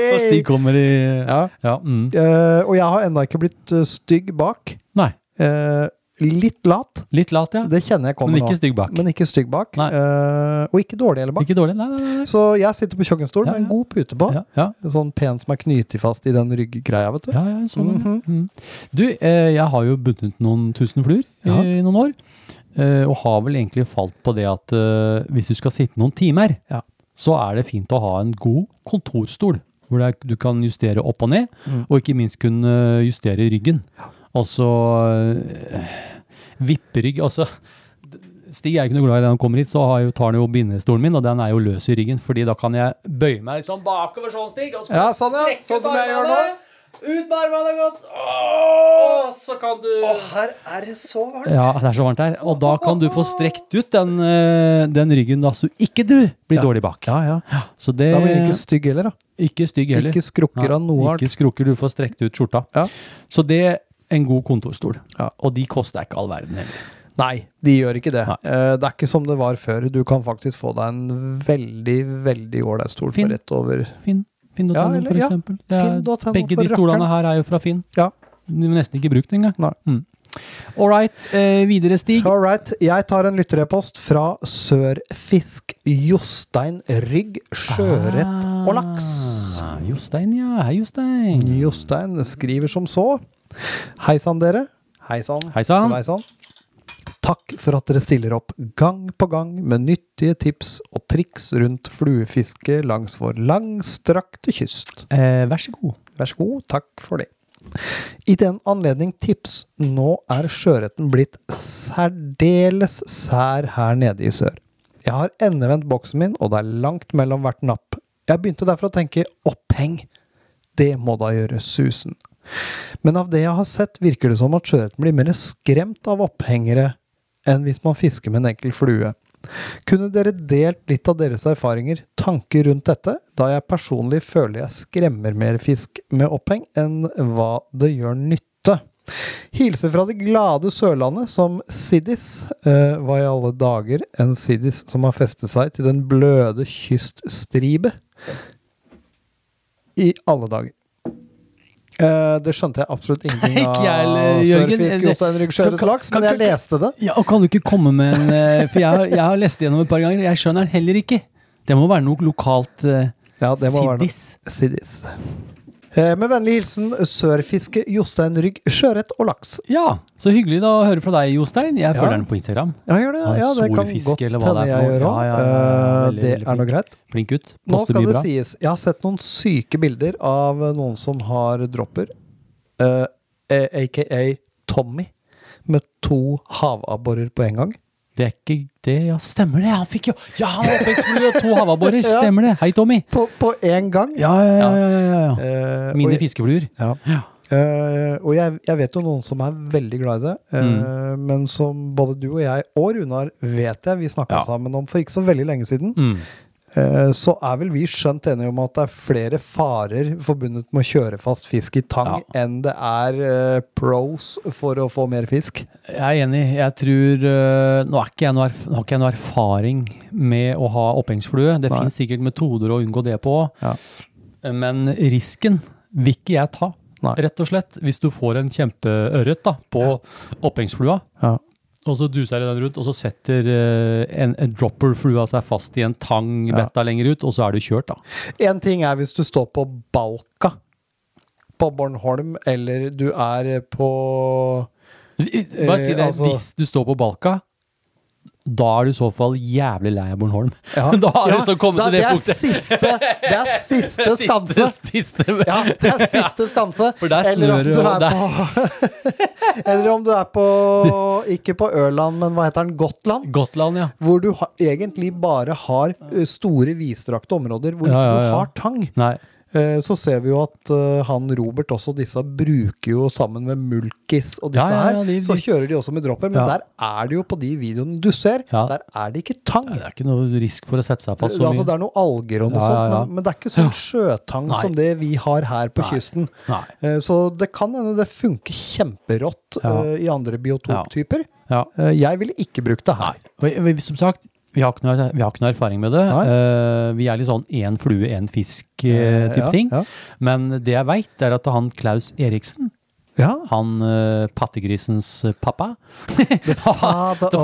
A: Når Stig kommer i Ja.
D: Ja.
A: mm.
D: Eh, og jeg har ennå ikke blitt eh, stygg bak.
A: Nei.
D: Eh, litt lat.
A: Litt lat, ja.
D: Det kjenner jeg kommer
A: Men ikke
D: nå.
A: stygg bak.
D: Men ikke stygg bak.
A: Nei.
D: Eh, og ikke dårlig heller bak.
A: Ikke dårlig? Nei, nei, nei. nei.
D: Så jeg sitter på kjøkkenstol
A: Ja,
D: med en
A: ja.
D: god pute på.
A: Ja, ja.
D: Sånn pen som er knyttet fast i den rygggreia, vet du.
A: Ja, ja, sånn. ja.
D: Mhm.
A: mm. Du, eh, jeg har jo bundet noen tusen fluer
D: Ja.
A: i noen år, eh, og har vel egentlig falt på det at eh, hvis du skal sitte noen timer,
D: Ja.
A: så er det fint å ha en god kontorstol, hvor det er, du kan justere opp og ned,
D: Mm.
A: og ikke minst kunne justere ryggen. Altså, eh, vipperygg, altså... Stig er ikke noe glad i det når han kommer hit, så har jeg, jo- tar han jo bindestolen min, og den er jo løs i ryggen, fordi da kan jeg bøye meg liksom bakover sånn, Stig, og så kan
D: Ja,
A: jeg
D: sånn, ja.
A: strekke
D: Sånn
A: ut
D: som jeg gjør nå.
A: armene. Ut med armene godt. Åh, så kan du
D: her er det så varmt!
A: Ja, det er så varmt her. Og da kan du få strekt ut den, eh, den ryggen, da, så ikke du blir dårlig bak.
D: Ja, ja.
A: Så det
D: Da blir jeg ikke stygg heller, da.
A: Eh, Ikke stygg heller.
D: Ikke skrukker
A: Nei,
D: av noe art.
A: Ikke skrukker, du får strekt ut skjorta.
D: Ja.
A: Så det er en god kontorstol.
D: Ja.
A: Og de koster ikke all verden heller.
D: Nei, de gjør ikke det.
A: Nei.
D: Eh, det er ikke som det var før. Du kan faktisk få deg en veldig, veldig ålreit stol
A: Fin.
D: for rett over
A: Finn. Finn.no,
D: Ja, eller-
A: for
D: ja.
A: eksempel. Det er-
D: Finn.no
A: Begge
D: for
A: de stolene
D: rakkeren.
A: her er jo fra Finn.
D: Ja.
A: De er nesten ikke brukt engang.
D: Nei.
A: Mm. All right, eh, videre, Stig.
D: All right. Jeg tar en lytterepost fra Sørfisk Jostein Rygg Sjørett og Laks.
A: Ah, Jostein, ja. Hei, Jostein.
D: Jostein skriver som så. Hei sann, dere. Hei sann.
A: Heisann.
D: Sveisann. Takk for at dere stiller opp gang på gang med nyttige tips og triks rundt fluefiske langs vår langstrakte kyst.
A: Eh, vær så god.
D: Vær så god, takk for det. I den anledning tips, nå er sjøretten blitt særdeles sær her nede i sør. Jeg har endevendt boksen min, og det er langt mellom hvert napp. Jeg begynte derfor å tenke oppheng. Det må da gjøre susen. Men av det jeg har sett, virker det som at sjøørreten blir mer skremt av opphengere enn hvis man fisker med en enkel flue. Kunne dere delt litt av deres erfaringer, tanker rundt dette, da jeg personlig føler jeg skremmer mer fisk med oppheng enn hva det gjør nytte? Hilser fra det glade Sørlandet som siddis. Eh, hva i alle dager en siddis som har festet seg til den bløde kyststribe? I alle dager. Eh, det skjønte jeg absolutt ingenting
A: *laughs* Ikke jeg heller,
D: av eh,
A: Jørgen.
D: Sørfisk,
A: Det-
D: Jostein Rygg, Sjøørret og Laks, men
A: kan-
D: jeg leste det.
A: Ja, og Kan du ikke komme med en eh, For jeg, har- jeg har lest igjennom et par ganger, jeg skjønner den heller ikke. Det må være noe lokalt eh,
D: Ja, det må være noe.
A: siddis.
D: Siddis. Eh, Med vennlig hilsen sørfiske Jostein Rygg, sjøørret og laks.
A: Ja, så hyggelig da å høre fra deg, Jostein. Jeg følger den på Instagram.
D: Ja, gjør det.
A: Han
D: Ja, det kan
A: solfiske,
D: godt
A: eller hva det
D: hende
A: er
D: jeg
A: for noe.
D: gjør òg.
A: Ja, ja, ja, ja, veldig,
D: Det
A: veldig
D: er nå
A: flink.
D: greit.
A: Flink gutt.
D: Nå
A: Poster
D: skal
A: mye
D: det
A: bra.
D: sies, jeg har sett noen syke bilder av eh, noen som har dropper, eh, eh, aka Tommy, med to havabborer på en gang.
A: Det er ikke det Ja, stemmer det! Han fikk jo Ja, han har oppvekstflue og to havaborer!
D: *laughs* Ja.
A: Stemmer det! Hei, Tommy!
D: På, på en gang!
A: Ja, ja, ja. ja, ja, ja.
D: Eh, og
A: Mine
D: jeg-
A: fiskefluer.
D: Ja.
A: Ja.
D: Eh, og jeg, jeg vet jo noen som er veldig glad i det, eh,
A: Mm.
D: men som både du og jeg og Runar vet jeg vi snakka
A: Ja.
D: sammen om for ikke så veldig lenge siden,
A: Mm.
D: eh, så er vel vi skjønt enige om at det er flere farer forbundet med å kjøre fast fisk i tang enn det er eh, pros for å få mer fisk.
A: Jeg er enig. Jeg tror øh, Nå, er ikke jeg noe erf nå har ikke jeg noe erfaring med å ha opphengsflue. Det
D: Nei.
A: finnes sikkert metoder å unngå det på.
D: Ja.
A: Men risken vil ikke jeg ta,
D: Nei.
A: rett og slett. Hvis du får en kjempeørret da, på opphengsflua,
D: Ja.
A: og så duser den rundt, og så setter eh, en, en dropper-flua seg fast i en tang betta lenger ut, og så er du kjørt, da.
D: En ting er hvis du står på Balka på Bornholm, eller du er på
A: Bare si det.
D: altså-
A: Hvis du står på Balka, da er du i så fall jævlig lei av Bornholm. *laughs* da har
D: Ja,
A: du så kommet
D: da-
A: til det
D: er
A: punktet.
D: Siste, det er
A: *laughs*
D: siste skanse.
A: Siste, siste.
D: *laughs* Ja, det er siste skanse.
A: For der snør det, og
D: er på *laughs* Eller om du er på Ikke på Ørland, men hva heter den? Gotland?
A: Gotland, ja.
D: Hvor du ha, egentlig bare har ø, store, vidstrakte områder
A: Ja,
D: hvor ikke
A: ja,
D: du
A: ja.
D: har tang.
A: Nei.
D: Eh, Så ser vi jo at eh, han Robert også disse bruker jo sammen med Mulkis og disse
A: Ja, ja, ja,
D: her.
A: de-
D: Så kjører de også med dropper, men
A: Ja.
D: der er det jo på de videoene du ser,
A: Ja.
D: der er det ikke tang.
A: Det er ikke noe risk for å sette seg fast
D: Det,
A: så
D: altså, det
A: mye.
D: er noen alger og noe
A: Ja, ja, ja.
D: sånt, men, men det er ikke sånn sjøtang
A: Nei.
D: som det vi har her på kysten.
A: Nei.
D: Eh, Så det kan hende det funker kjemperått
A: Ja.
D: eh, i andre biotoptyper.
A: Ja.
D: Eh, Jeg ville ikke brukt det her.
A: Og vi- vi- Som sagt, vi har ikke noe, vi har ikke noe erfaring med det.
D: Nei.
A: Eh, vi er litt sånn én flue, én fisk-type
D: ja,
A: ting.
D: ja.
A: Men det jeg veit, er at han Klaus Eriksen,
D: Ja.
A: han eh, pattegrisens pappa *laughs* The
D: father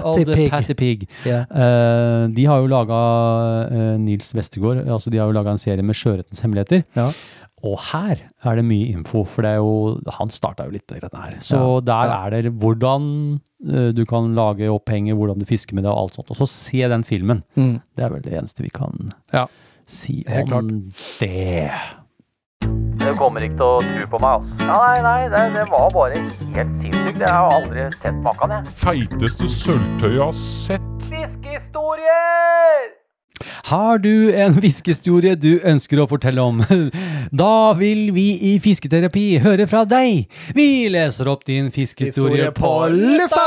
D: of the patty pig.
A: patty pig.
D: Ja.
A: Eh, de har jo laga Nils Vestegård, altså de har jo laga en serie med sjøørretens hemmeligheter.
D: Ja.
A: Og her er det mye info, for det er jo, han starta jo litt det greiene her. Så
D: Ja,
A: der
D: ja.
A: er det hvordan eh, du kan lage opphenger, hvordan du fisker med det og alt sånt. Og så se den filmen.
D: Mm.
A: Det er vel det eneste vi kan
D: Ja.
A: si
D: Helt
A: om det.
B: Du kommer ikke til å tro på meg, altså. Nei, nei, det, det var bare helt sinnssykt. Jeg har aldri sett maken, jeg.
C: Feiteste sølvtøyet jeg har sett.
B: Fiskehistorier!
A: Har du en fiskehistorie du ønsker å fortelle om? *laughs* Da vil vi i Fisketerapi høre fra deg! Vi leser opp din fiskehistorie på
D: lufta!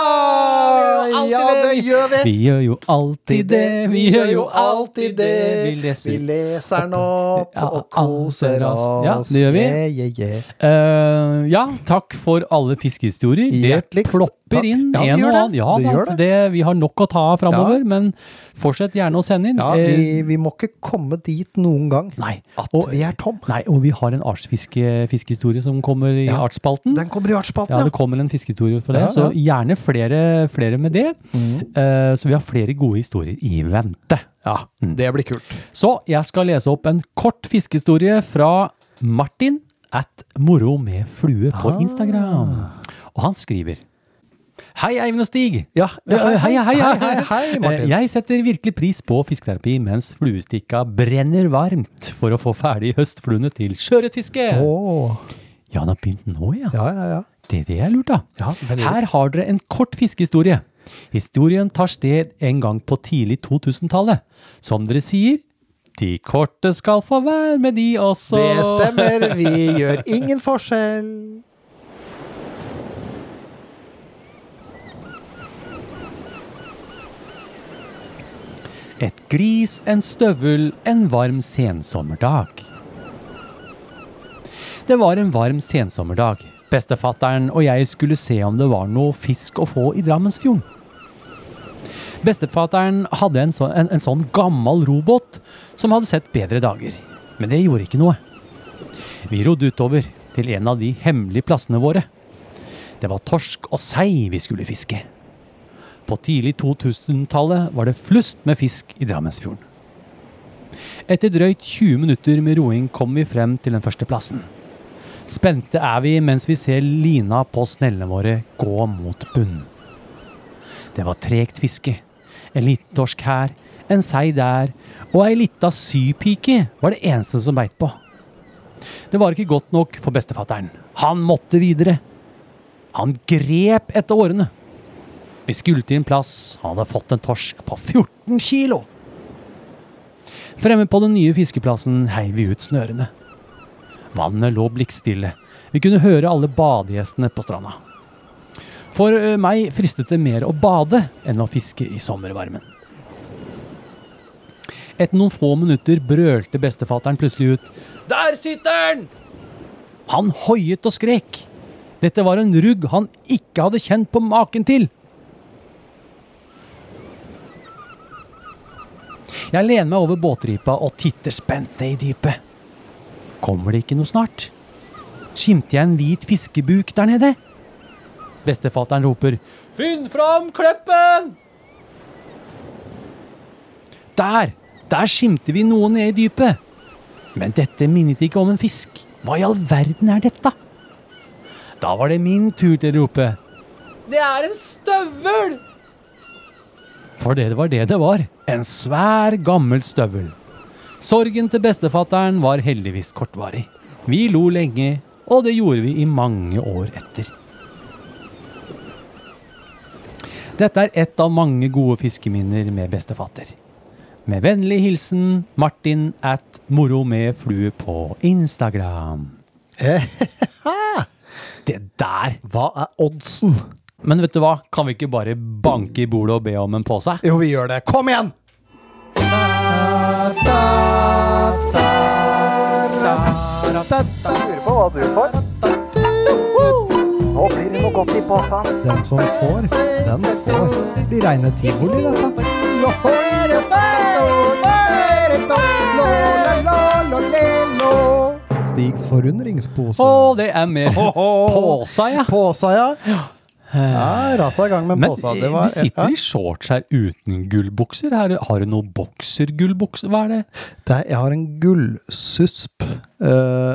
A: alltid
D: Ja,
A: det
D: det
A: vi-
D: gjør vi!
A: Vi gjør jo alltid det, vi gjør jo alltid det. Vi
D: Vi
A: leser
D: leser den opp
A: Ja,
D: og koser
A: anser
D: oss.
A: oss. Ja, det gjør vi.
D: Yeah, yeah, yeah.
A: Eh, ja, takk for alle fiskehistorier. Det
D: Hjerteligst.
A: slipper inn
D: Ja, det
A: en
D: gjør
A: og
D: det.
A: annen. Ja,
D: Det
A: da,
D: gjør
A: altså, det, vi har nok å ta av framover, men fortsett gjerne å sende inn.
D: Ja,
A: Eh,
D: vi, vi må ikke komme dit noen gang
A: nei.
D: at
A: Og,
D: vi er tom.
A: nei, og vi har en artsfiskehistorie som kommer i
D: Ja,
A: artsspalten.
D: Den kommer i artsspalten,
A: Ja,
D: ja.
A: det kommer en fiskehistorie fra det,
D: Ja, Mm.
A: så gjerne flere, flere med det. Eh, så vi har flere gode historier i vente. Ja. Mm.
D: Det blir kult.
A: Så jeg skal lese opp en kort fiskehistorie fra Martin at moro med flue
D: Ah.
A: på Instagram. Og han skriver Hei, Eivind og Stig.
D: Ja, ja,
A: Eh, hei, hei, hei, hei,
D: hei, Martin.
A: Eh, Jeg setter virkelig pris på fisketerapi mens fluestikka brenner varmt for å få ferdig høstfluene til sjøørretfiske.
D: Åh.
A: Ja, han har begynt nå, ja.
D: Ja, ja, ja.
A: Det er det jeg lurte av.
D: Ja, veldig
A: Her har dere en kort fiskehistorie. Historien tar sted en gang på tidlig 2000-tallet. Som dere sier, de korte skal få være med de også.
D: Det stemmer. Vi
A: *laughs*
D: gjør ingen forskjell.
A: Et glis, en støvel, en varm sensommerdag. Det var en varm sensommerdag. Bestefatteren og jeg skulle se om det var noe fisk å få i Drammensfjorden. Bestefatteren hadde en, så, en, en sånn gammel robåt som hadde sett bedre dager. Men det gjorde ikke noe. Vi rodde utover til en av de hemmelige plassene våre. Det var torsk og sei vi skulle fiske. På tidlig 2000-tallet var det flust med fisk i Drammensfjorden. Etter drøyt 20 minutter med roing kom vi frem til den første plassen. Spente er vi mens vi ser lina på snellene våre gå mot bunn. Det var tregt fiske. En liten torsk her, en sei der, og ei lita sypike var det eneste som beit på. Det var ikke godt nok for bestefatteren. Han måtte videre. Han grep etter årene. Vi skulle til en plass han hadde fått en torsk på 14 kilo. Fremme på den nye fiskeplassen heiv vi ut snørene. Vannet lå blikkstille. Vi kunne høre alle badegjestene på stranda. For ø, meg fristet det mer å bade enn å fiske i sommervarmen. Etter noen få minutter brølte bestefatteren plutselig ut. Der sitter han! Han hoiet og skrek. Dette var en rugg han ikke hadde kjent på maken til. Jeg lener meg over båtripa og titter spent ned i dypet. Kommer det ikke noe snart? Skimter jeg en hvit fiskebuk der nede? Bestefatteren roper Finn fram kleppen! Der! Der skimter vi noe nede i dypet. Men dette minnet ikke om en fisk. Hva i all verden er dette? Da var det min tur til å rope. Det er en støvel! For det var det det var. En svær, gammel støvel. Sorgen til bestefatteren var heldigvis kortvarig. Vi lo lenge, og det gjorde vi i mange år etter. Dette er ett av mange gode fiskeminner med bestefatter. Med vennlig hilsen Martin at moro med flue på Instagram.
D: Eh, *laughs*
A: Det der!
D: Hva er oddsen?
A: Men vet du hva? Kan vi ikke bare banke i bordet og be om en pose?
D: Jo, vi gjør det. Kom igjen!
B: Lurer på hva du får. Nå blir det noe godt i posen.
D: Den som får, den får. Det blir reine tivoli, dette. Stigs forundringspose.
A: Å, det er mer påsa, ja.
D: Påsa, ja. Ja, rasa i gang med en
A: Men
D: påsa. Det
A: eh,
D: var,
A: du sitter i shorts her uten gullbukser. Her, har du noen boksergullbukser? Hva er det?
D: Det er, jeg har en gullsusp. Eh,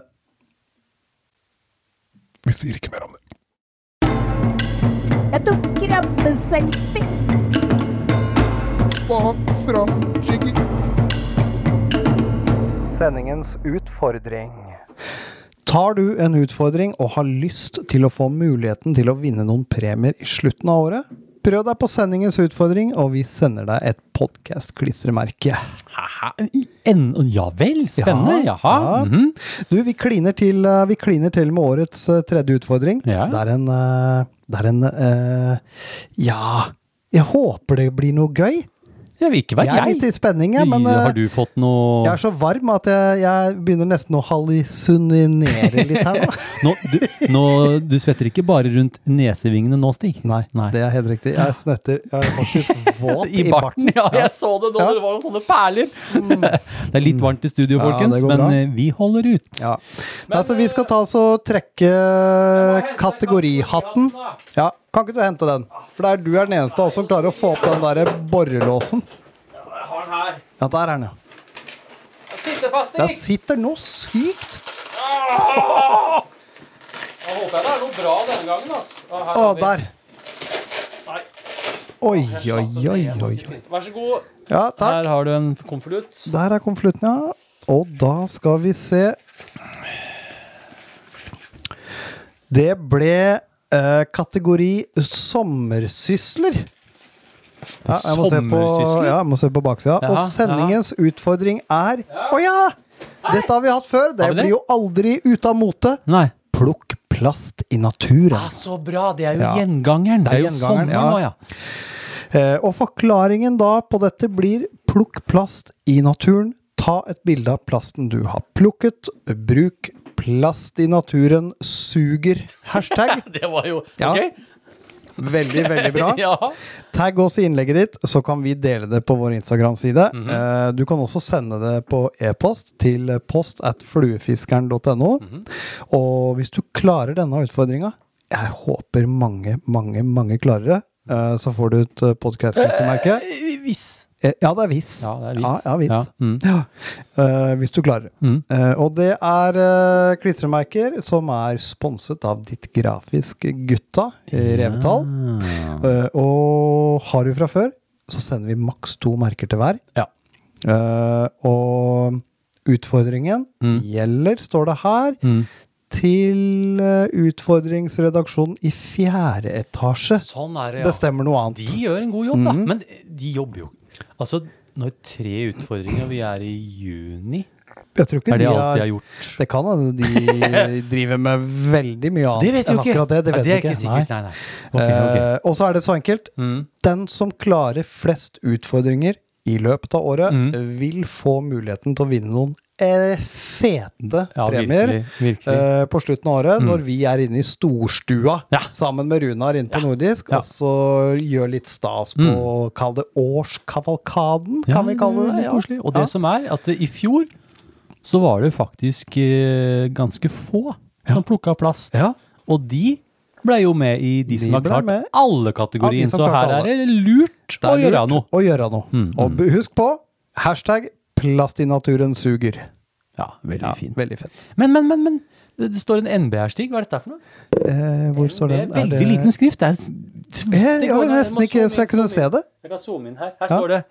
C: Vi sier ikke mer om det.
E: Jeg tok krabbeselfie.
D: Sendingens utfordring. Tar du en utfordring og har lyst til å få muligheten til å vinne noen premier i slutten av året? Prøv deg på sendingens utfordring, og vi sender deg et podkast-klistremerke.
A: Haha, i en, ja vel, spennende.
D: Ja,
A: Jaha.
D: ja.
A: mhm.
D: Du, vi kliner, til, eh, vi kliner til med årets eh, tredje utfordring.
A: Ja.
D: Det er en eh, Det er en eh, Ja, jeg håper det blir noe gøy.
A: Jeg vil ikke
D: Jeg
A: være
D: er litt
A: jeg.
D: i spenning, jeg, men eh,
A: Har du fått noe
D: jeg er så varm at jeg, jeg begynner nesten å hallusinere litt her
A: *laughs*
D: nå.
A: *laughs* nå, du, nå, du svetter ikke bare rundt nesevingene nå, Stig?
D: Nei,
A: Nei.
D: det er helt riktig. Jeg snetter. Jeg er faktisk våt
A: I barten, ja. Jeg så det nå,
D: Ja. Mm.
A: det var noen sånne perler. *laughs* Det er litt varmt i studio,
D: Ja, det
A: folkens,
D: går
A: men
D: bra.
A: eh, vi holder ut.
D: Ja. Nei, så vi skal ta oss og trekke kategorihatten. Ja, kan ikke du hente den? For det er du er den eneste av oss som klarer å få opp den der borrelåsen.
B: Jeg har den her.
D: Ja, der er den, ja.
B: Jeg sitter fast,
D: Der sitter noe sykt!
B: Jeg håper jeg det er noe bra denne gangen, ass. Å, her
D: Å,
B: har vi-
D: der.
B: Nei,
D: Oi,
B: jeg
D: oi,
B: satte den ned,
D: oi, oi.
B: jeg må ikke finne- Vær så god.
D: Ja, takk.
A: Her har du en konvolutt.
D: Der er konvolutten, ja. Og da skal vi se Det ble eh, kategori sommersysler. Ja, jeg må se på,
A: Sommersysler?
D: ja, jeg må se på baksida.
A: Ja,
D: og sendingens utfordring er Å ja! Dette har vi hatt før. Det
A: Har vi det?
D: blir jo aldri ute av mote.
A: Nei.
D: Plukk plast i naturen.
A: Ja, så bra! Det er jo
D: Ja.
A: gjengangeren. Det er, jo
D: gjengangeren,
A: sommer
D: ja.
A: nå, ja.
D: Eh, og forklaringen da på dette blir plukk plast i naturen. Ta et bilde av plasten du har plukket. Bruk plast i naturen suger. Hashtag.
A: Det var jo
D: Ja.
A: Ok.
D: Veldig, veldig bra.
A: *laughs* Ja.
D: Tagg oss i innlegget ditt, så kan vi dele det på vår Instagram-side.
A: Mhm.
D: Eh, Du kan også sende det på e-post til post at fluefiskeren.no.
A: Mhm.
D: Og hvis du klarer denne utfordringa, jeg håper mange, mange, mange klarer det, eh, så får du et podkast-merke.
A: Hvis.
D: Eh, Ja, det er hvis.
A: Ja, det er hvis.
D: Ja, ja, hvis.
A: Ja, mm.
D: Ja. Eh, hvis du klarer det.
A: Mm.
D: Eh, og det er eh, klistremerker som er sponset av Ditt Grafisk Gutta i Revetal.
A: mm.
D: Eh, og har du fra før, så sender vi maks to merker til hver.
A: Ja.
D: Eh, og utfordringen gjelder, står det her,
A: Mm.
D: til eh, utfordringsredaksjonen i fjerde etasje.
A: Sånn er det, ja.
D: Bestemmer noe annet.
A: De gjør en god jobb, da.
D: Mm.
A: Men de jobber jo Altså, nå er det tre utfordringer. Vi er i juni.
D: Jeg tror ikke
A: Er det
D: de
A: alt
D: har-
A: de har gjort?
D: Det kan hende de *laughs* driver med veldig mye annet.
A: Det vet vi
D: enn
A: jo ikke.
D: akkurat Det, det
A: Nei,
D: vet
A: det er
D: vi
A: ikke sikkert.
D: Nei.
A: Nei, nei. Ok, ok.
D: Eh, og så er det så enkelt.
A: Mm.
D: Den som klarer flest utfordringer i løpet av året, vil få muligheten til å vinne noen eh, fete
A: Ja,
D: premier.
A: virkelig, virkelig.
D: eh, på slutten av året, når vi er inne i storstua
A: Ja.
D: sammen med Runar inne på Nordisk,
A: Ja.
D: og så gjør litt stas på Kall det årskavalkaden,
A: Ja,
D: kan vi kalle Mm. det.
A: veldig koselig. Og det som er, at i fjor så var det faktisk eh, ganske få som plukka plast.
D: Ja.
A: Og de ble jo med i de, som har
D: ble
A: klart
D: med.
A: alle kategorien,
D: Ja, de som
A: så her
D: klarte
A: er det lurt
D: Det er
A: å gjøre
D: lurt
A: noe.
D: Å gjøre noe. Og bu- husk på hashtag 'plast i naturen suger'.
A: Ja, veldig fint.
D: Veldig fett.
A: Men, men, men, men det det står en NB her, Stig. Hva er dette for noe?
D: Eh, hvor står
A: Det
D: den? Eh,
A: er veldig liten skrift. Det er s-
D: Jeg,
A: det
D: jeg
A: går
D: var
A: an, jeg
D: nesten
A: må
D: ikke
A: zoome
D: så jeg
A: inn,
D: kunne
A: zoome
D: se
A: inn.
D: det.
A: Jeg kan zoome inn her. Her
D: Ja.
A: står det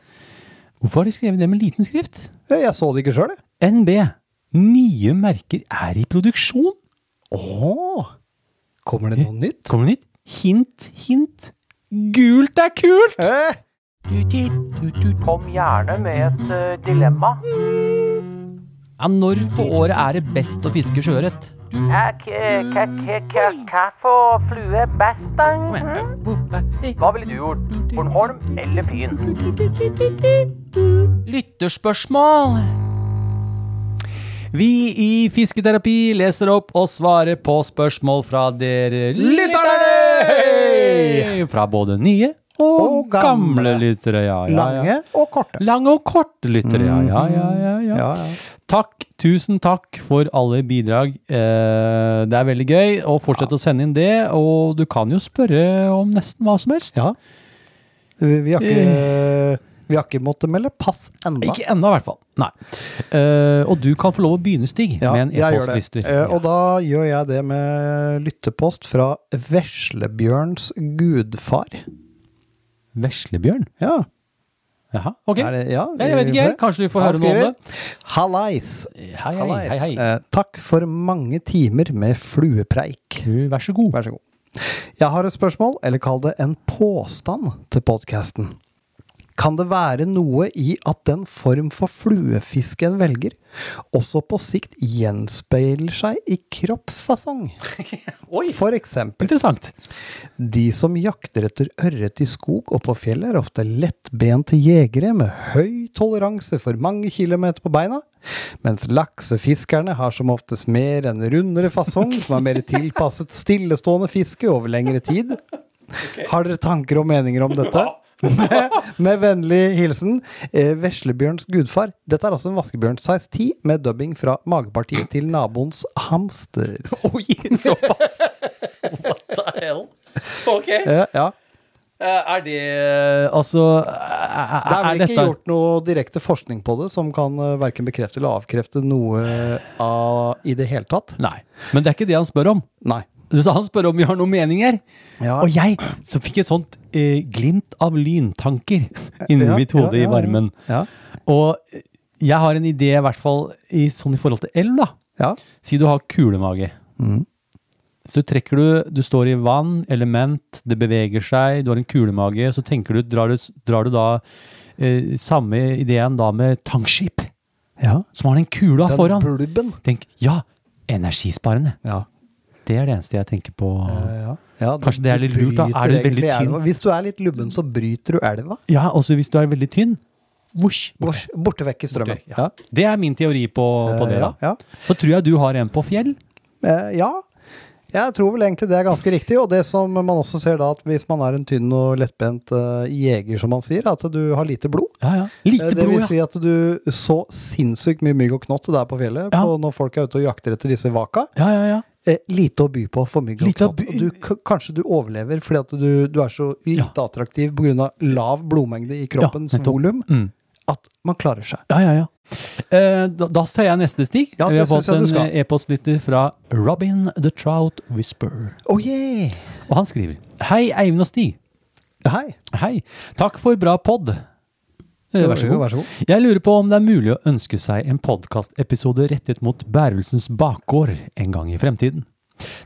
A: Hvorfor har de skrevet det med liten skrift?
D: Ja, Eh, Jeg så det ikke sjøl, jeg.
A: NB. Nye merker er i produksjon.
D: Åh, Kommer det noe nytt?
A: Kommer det nytt? Hint, hint. Gult er kult!
D: Eh,
B: Kom gjerne med et eh, dilemma.
A: Ja, når på året er det best å fiske sjøørret?
B: Hva for flue best, da? Hva ville du gjort? Bornholm eller Fyn?
A: Lytterspørsmål. Vi i Fisketerapi leser opp og svarer på spørsmål fra dere lyttere! Fra både nye og,
D: Og gamle.
A: gamle lyttere. Ja, ja, ja.
D: Lange og korte.
A: Lange og korte lyttere, ja. Ja, ja, ja, ja.
D: Ja, ja.
A: Takk, tusen takk for alle bidrag. Eh, det er veldig gøy, og fortsett å sende inn det. Og du kan jo spørre om nesten hva som helst.
D: ja. Vi, vi har ikke vi har ikke måttet melde pass ennå.
A: Ikke ennå, i hvert fall. Nei. Eh, og du kan få lov å begynne, Stig,
D: Ja,
A: med en
D: jeg gjør
A: e-postlister.
D: det. Eh, og da gjør jeg det med lyttepost fra Veslebjørns gudfar.
A: Veslebjørn?
D: Ja.
A: Jaha, ok.
D: Er det, ja,
A: Ja, jeg vet ikke, jeg. Kanskje vi får
D: Han
A: høre noe om det?
D: skriver, Hallais.
A: Hei, hei,
D: Hallais.
A: hei, hei.
D: Eh, takk for mange timer med fluepreik.
A: Du, Vær så god.
D: Vær så god. Jeg har et spørsmål, eller kall det en påstand, til podkasten. Kan det være noe i at den form for fluefiske en velger, også på sikt gjenspeiler seg i kroppsfasong?
A: *laughs* Oi!
D: For eksempel,
A: Interessant.
D: de som jakter etter ørret i skog og på fjell, er ofte lettbente jegere med høy toleranse for mange kilometer på beina, mens laksefiskerne har som oftest mer en rundere fasong som er mer tilpasset stillestående fiske over lengre tid. Har dere tanker og meninger om dette? *laughs* med, med vennlig hilsen eh, Veslebjørns gudfar. Dette er altså en vaskebjørn size 10 med dubbing fra magepartiet til naboens hamster.
A: Oi, såpass! What the hell? Ok.
D: Eh, ja.
B: Eh,
A: Er det Altså, er,
D: Det er
A: er
D: vel ikke
A: dette
D: gjort noe direkte forskning på det som kan uh, verken bekrefte eller avkrefte noe av i det hele tatt.
A: Nei. Men det er ikke det han spør om.
D: Nei.
A: Så han spør om vi har noen meninger.
D: Ja.
A: Og jeg så fikk et sånt eh, glimt av lyntanker inni
D: Eh, Ja,
A: mitt hode
D: ja, ja,
A: i varmen.
D: Ja.
A: Og eh, jeg har en idé, i hvert fall i, sånn i forhold til elv, da.
D: ja.
A: Si du har kulemage.
D: Mm.
A: Så trekker du Du står i vann, element, det beveger seg, du har en kulemage. Så tenker du, drar du, drar du da eh, samme ideen da med tangskip,
D: ja.
A: som har den kula
D: Den
A: foran.
D: blubben.
A: Tenk, ja! Energisparende.
D: Ja.
A: Det er det eneste jeg tenker på.
D: Eh, ja. Ja,
A: Kanskje det er litt
D: du
A: lurt, da. Er
D: bryter
A: det veldig
D: egentlig
A: tynn?
D: elva. Hvis du er litt lubben, så bryter du elva.
A: Ja, også hvis du er veldig tynn. Vosj! borte.
D: Bors- Borte vekk i strømmen.
A: Borte, ja. Det er min teori på, på det,
D: Eh,
A: da.
D: ja.
A: Så tror jeg du har en på fjell.
D: Eh, ja. Jeg tror vel egentlig det er ganske riktig. Og det som man også ser da, at hvis man er en tynn og lettbent eh, jeger, som man sier, at du har lite blod.
A: Ja, ja. Lite
D: Eh, Det
A: blod,
D: vil
A: ja.
D: si at du så sinnssykt mye mygg og knott der på fjellet
A: Ja.
D: på når folk er ute og jakter etter disse vaka.
A: Ja, ja, ja.
D: Eh, lite å by på for mygg og
A: Lite å
D: knott.
A: by-
D: Og du, k- kanskje du overlever fordi at du, du er så lite attraktiv pga. lav blodmengde i kroppens
A: nettopp.
D: volum
A: Mm.
D: at man klarer seg.
A: Ja, ja, ja. Eh, da, da tar jeg neste stig.
D: Ja,
A: Vi
D: det
A: har fått
D: synes jeg du
A: en
D: skal.
A: eh, e-postlytter fra Robin the Trout Whisper.
D: Oh yeah!
A: Og han skriver Hei, Eivind og Stig.
D: Hei.
A: Hei. Takk for bra pod. Eh, Vær så
D: Jo,
A: god.
D: Vær så god.
A: Jeg lurer på om det er mulig å ønske seg en podkastepisode rettet mot Bærelsens bakgård en gang i fremtiden.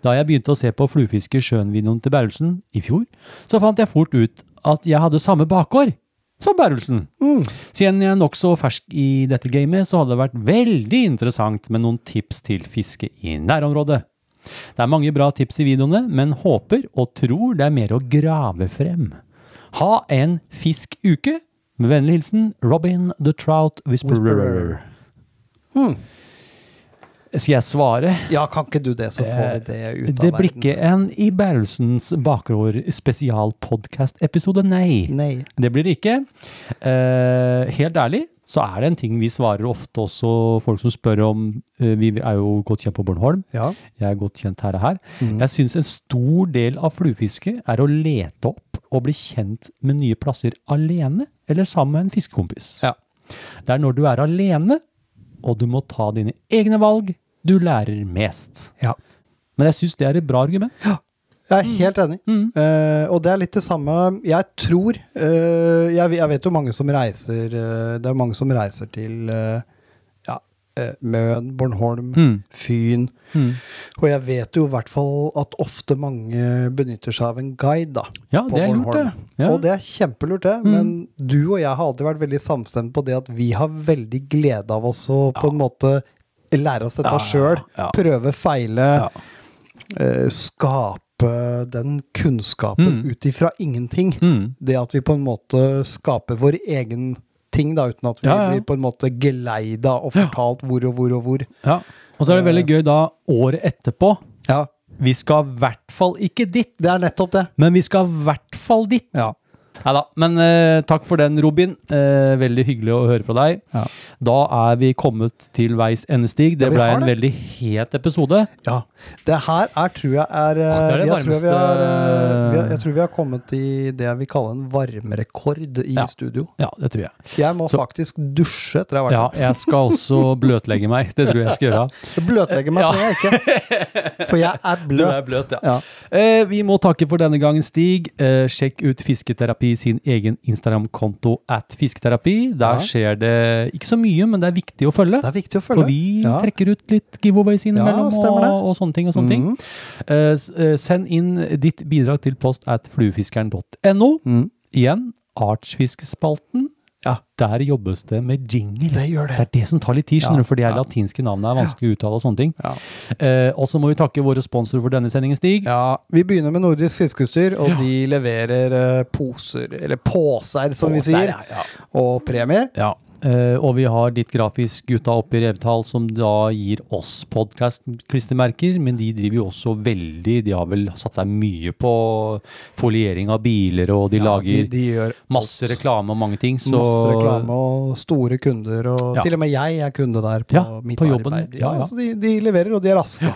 A: Da jeg begynte å se på Fluefiske sjøen-videoen til Bærelsen i fjor, så fant jeg fort ut at jeg hadde samme bakgård som Bærelsen.
D: Mm.
A: Siden jeg er nokså fersk i dette gamet, så hadde det vært veldig interessant med noen tips til fiske i nærområdet. Det er mange bra tips i videoene, men håper og tror det er mer å grave frem. Ha en fiskuke! Med vennlig hilsen Robin the Trout Whisperer.
D: Whisperer. Hmm.
A: Skal jeg svare?
D: Ja, kan ikke du det, så får vi det ut av
A: Eh, Det blir ikke en I Bærelsens bakgård spesialpodkast-episode, nei.
D: Nei.
A: Det blir det ikke. Eh, helt ærlig så er det en ting vi svarer ofte også folk som spør om eh, Vi er jo godt kjent på Bornholm.
D: Ja.
A: Jeg er godt kjent her og her. Jeg syns en stor del av fluefiske er å lete opp og bli kjent med nye plasser alene eller sammen med en fiskekompis.
D: Ja.
A: Det er når du er alene og du må ta dine egne valg, du lærer mest.
D: ja.
A: Men jeg syns det er et bra argument.
D: Jeg er helt enig.
A: Mm.
D: Eh, og det er litt det samme Jeg tror eh, jeg, jeg vet jo mange som reiser eh, Det er mange som reiser til eh, ja, eh, Møn, Bornholm,
A: Mm.
D: Fyn. Og jeg vet jo i hvert fall at ofte mange benytter seg av en guide, da.
A: Ja,
D: på
A: det er lurt,
D: Bornholm.
A: det. Ja. Mm.
D: Og det er kjempelurt, det. Men du og jeg har alltid vært veldig samstemte på det at vi har veldig glede av oss å på en måte lære oss dette
A: Ja, ja,
D: sjøl.
A: ja.
D: Prøve, feile.
A: Ja.
D: eh, skape den kunnskapen ut ifra ingenting.
A: Mm.
D: Det at vi på en måte skaper vår egen ting, da, uten at vi
A: Ja, ja.
D: blir på en måte geleida og fortalt hvor og hvor og hvor.
A: Ja. Og så er det veldig gøy da, året etterpå
D: Ja,
A: Vi skal i hvert fall ikke dit,
D: Det er nettopp det.
A: men vi skal i hvert fall dit.
D: Ja.
A: Nei da. Men eh, takk for den, Robin. Eh, veldig hyggelig å høre fra deg.
D: Ja.
A: Da er vi kommet til veis endestig. Det
D: Ja, vi
A: ble
D: har
A: en
D: det.
A: veldig het episode.
D: Ja. Det her er, tror jeg er, eh,
A: det er det
D: jeg, tror vi har, eh,
A: varmeste-
D: vi har, jeg tror vi har kommet i det jeg vil kalle en varmerekord i
A: Ja.
D: studio.
A: Ja, det tror jeg.
D: Jeg må
A: Så-
D: faktisk dusje etter jeg har vært
A: Ja, jeg skal også bløtlegge meg. Det tror jeg jeg skal gjøre. *laughs*
D: her. Bløtlegge meg
A: Ja.
D: trenger jeg ikke, for jeg er
A: *laughs*
D: bløt.
A: Du er bløt, ja. Eh, vi må takke for denne gangen, Stig. Eh, sjekk ut Fisketerapi sin egen Instagram-konto at Fisketerapi. Der
D: Ja.
A: skjer det ikke så mye, men det er viktig å følge.
D: Det er viktig å følge.
A: For vi
D: Ja.
A: trekker ut litt giveaways innimellom
D: stemmer det. Mm.
A: og, og sånne ting. og sånne ting. Eh, s- eh, send inn
D: Mm.
A: ditt bidrag til post at fluefiskeren.no. Igjen, artsfiskespalten
D: Ja.
A: Der jobbes det med jingle.
D: Det gjør det.
A: Det er det som tar litt tid, skjønner
D: Ja,
A: du, for de her latinske navnene er vanskelig å uttale og sånne ting.
D: Ja.
A: Eh, og så må vi takke våre sponsorer for denne sendingen, Stig.
D: Ja, Vi begynner med nordisk fiskeutstyr, og de leverer eh, poser, eller påser, som vi
A: Påser,
D: sier,
A: ja, ja.
D: og premier.
A: Ja, eh, og vi har ditt grafisk gutta oppe i Revtal som da gir oss podcast-klistermerker, men de driver jo også veldig, de har vel satt seg mye på foliering av biler, og de lager
D: de, de gjør
A: masse reklame og mange ting. Så,
D: masse reklame og store kunder, og
A: Ja.
D: til og med jeg er kunde der på
A: Ja,
D: mitt
A: på jobben.
D: arbeid.
A: Ja, ja.
D: Så de, de leverer, og de er raske.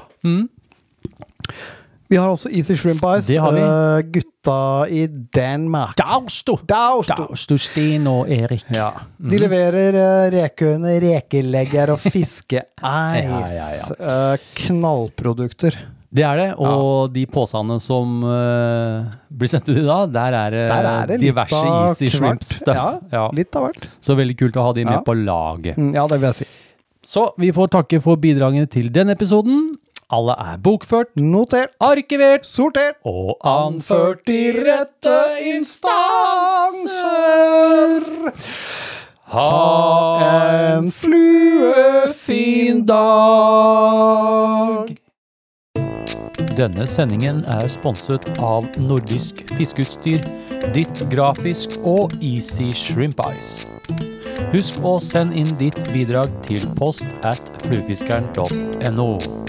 D: Vi har også Easy Shrimp Ice.
A: Det har vi.
D: eh, gutta i Danmark.
A: Dausto!
D: Dausto.
A: Dausto, Sten og Erik.
D: Ja.
A: Mm.
D: De leverer uh, rekehøne,
A: *laughs*
D: rekelegger og fiskeeis. Eh, knallprodukter.
A: Det er det, og de påsene som eh, blir sendt ut i dag, der er, det
D: Der er det litt
A: Eh, diverse
D: av
A: easy
D: hvert.
A: shrimp stuff.
D: Ja,
A: Ja.
D: Litt av hvert.
A: Så veldig kult å ha de med
D: Ja.
A: på laget.
D: Mm, ja, det vil jeg si.
A: Så vi får takke for bidragene til denne episoden. Alle er bokført,
D: Notert,
A: arkivert
D: sortert,
A: og anført i rette instanser. Ha en fluefin dag. Denne sendingen er sponset av Nordisk Fiskeutstyr, Ditt Grafisk og Easy Shrimp Ice. Husk å sende inn ditt bidrag til post at fluefiskeren.no.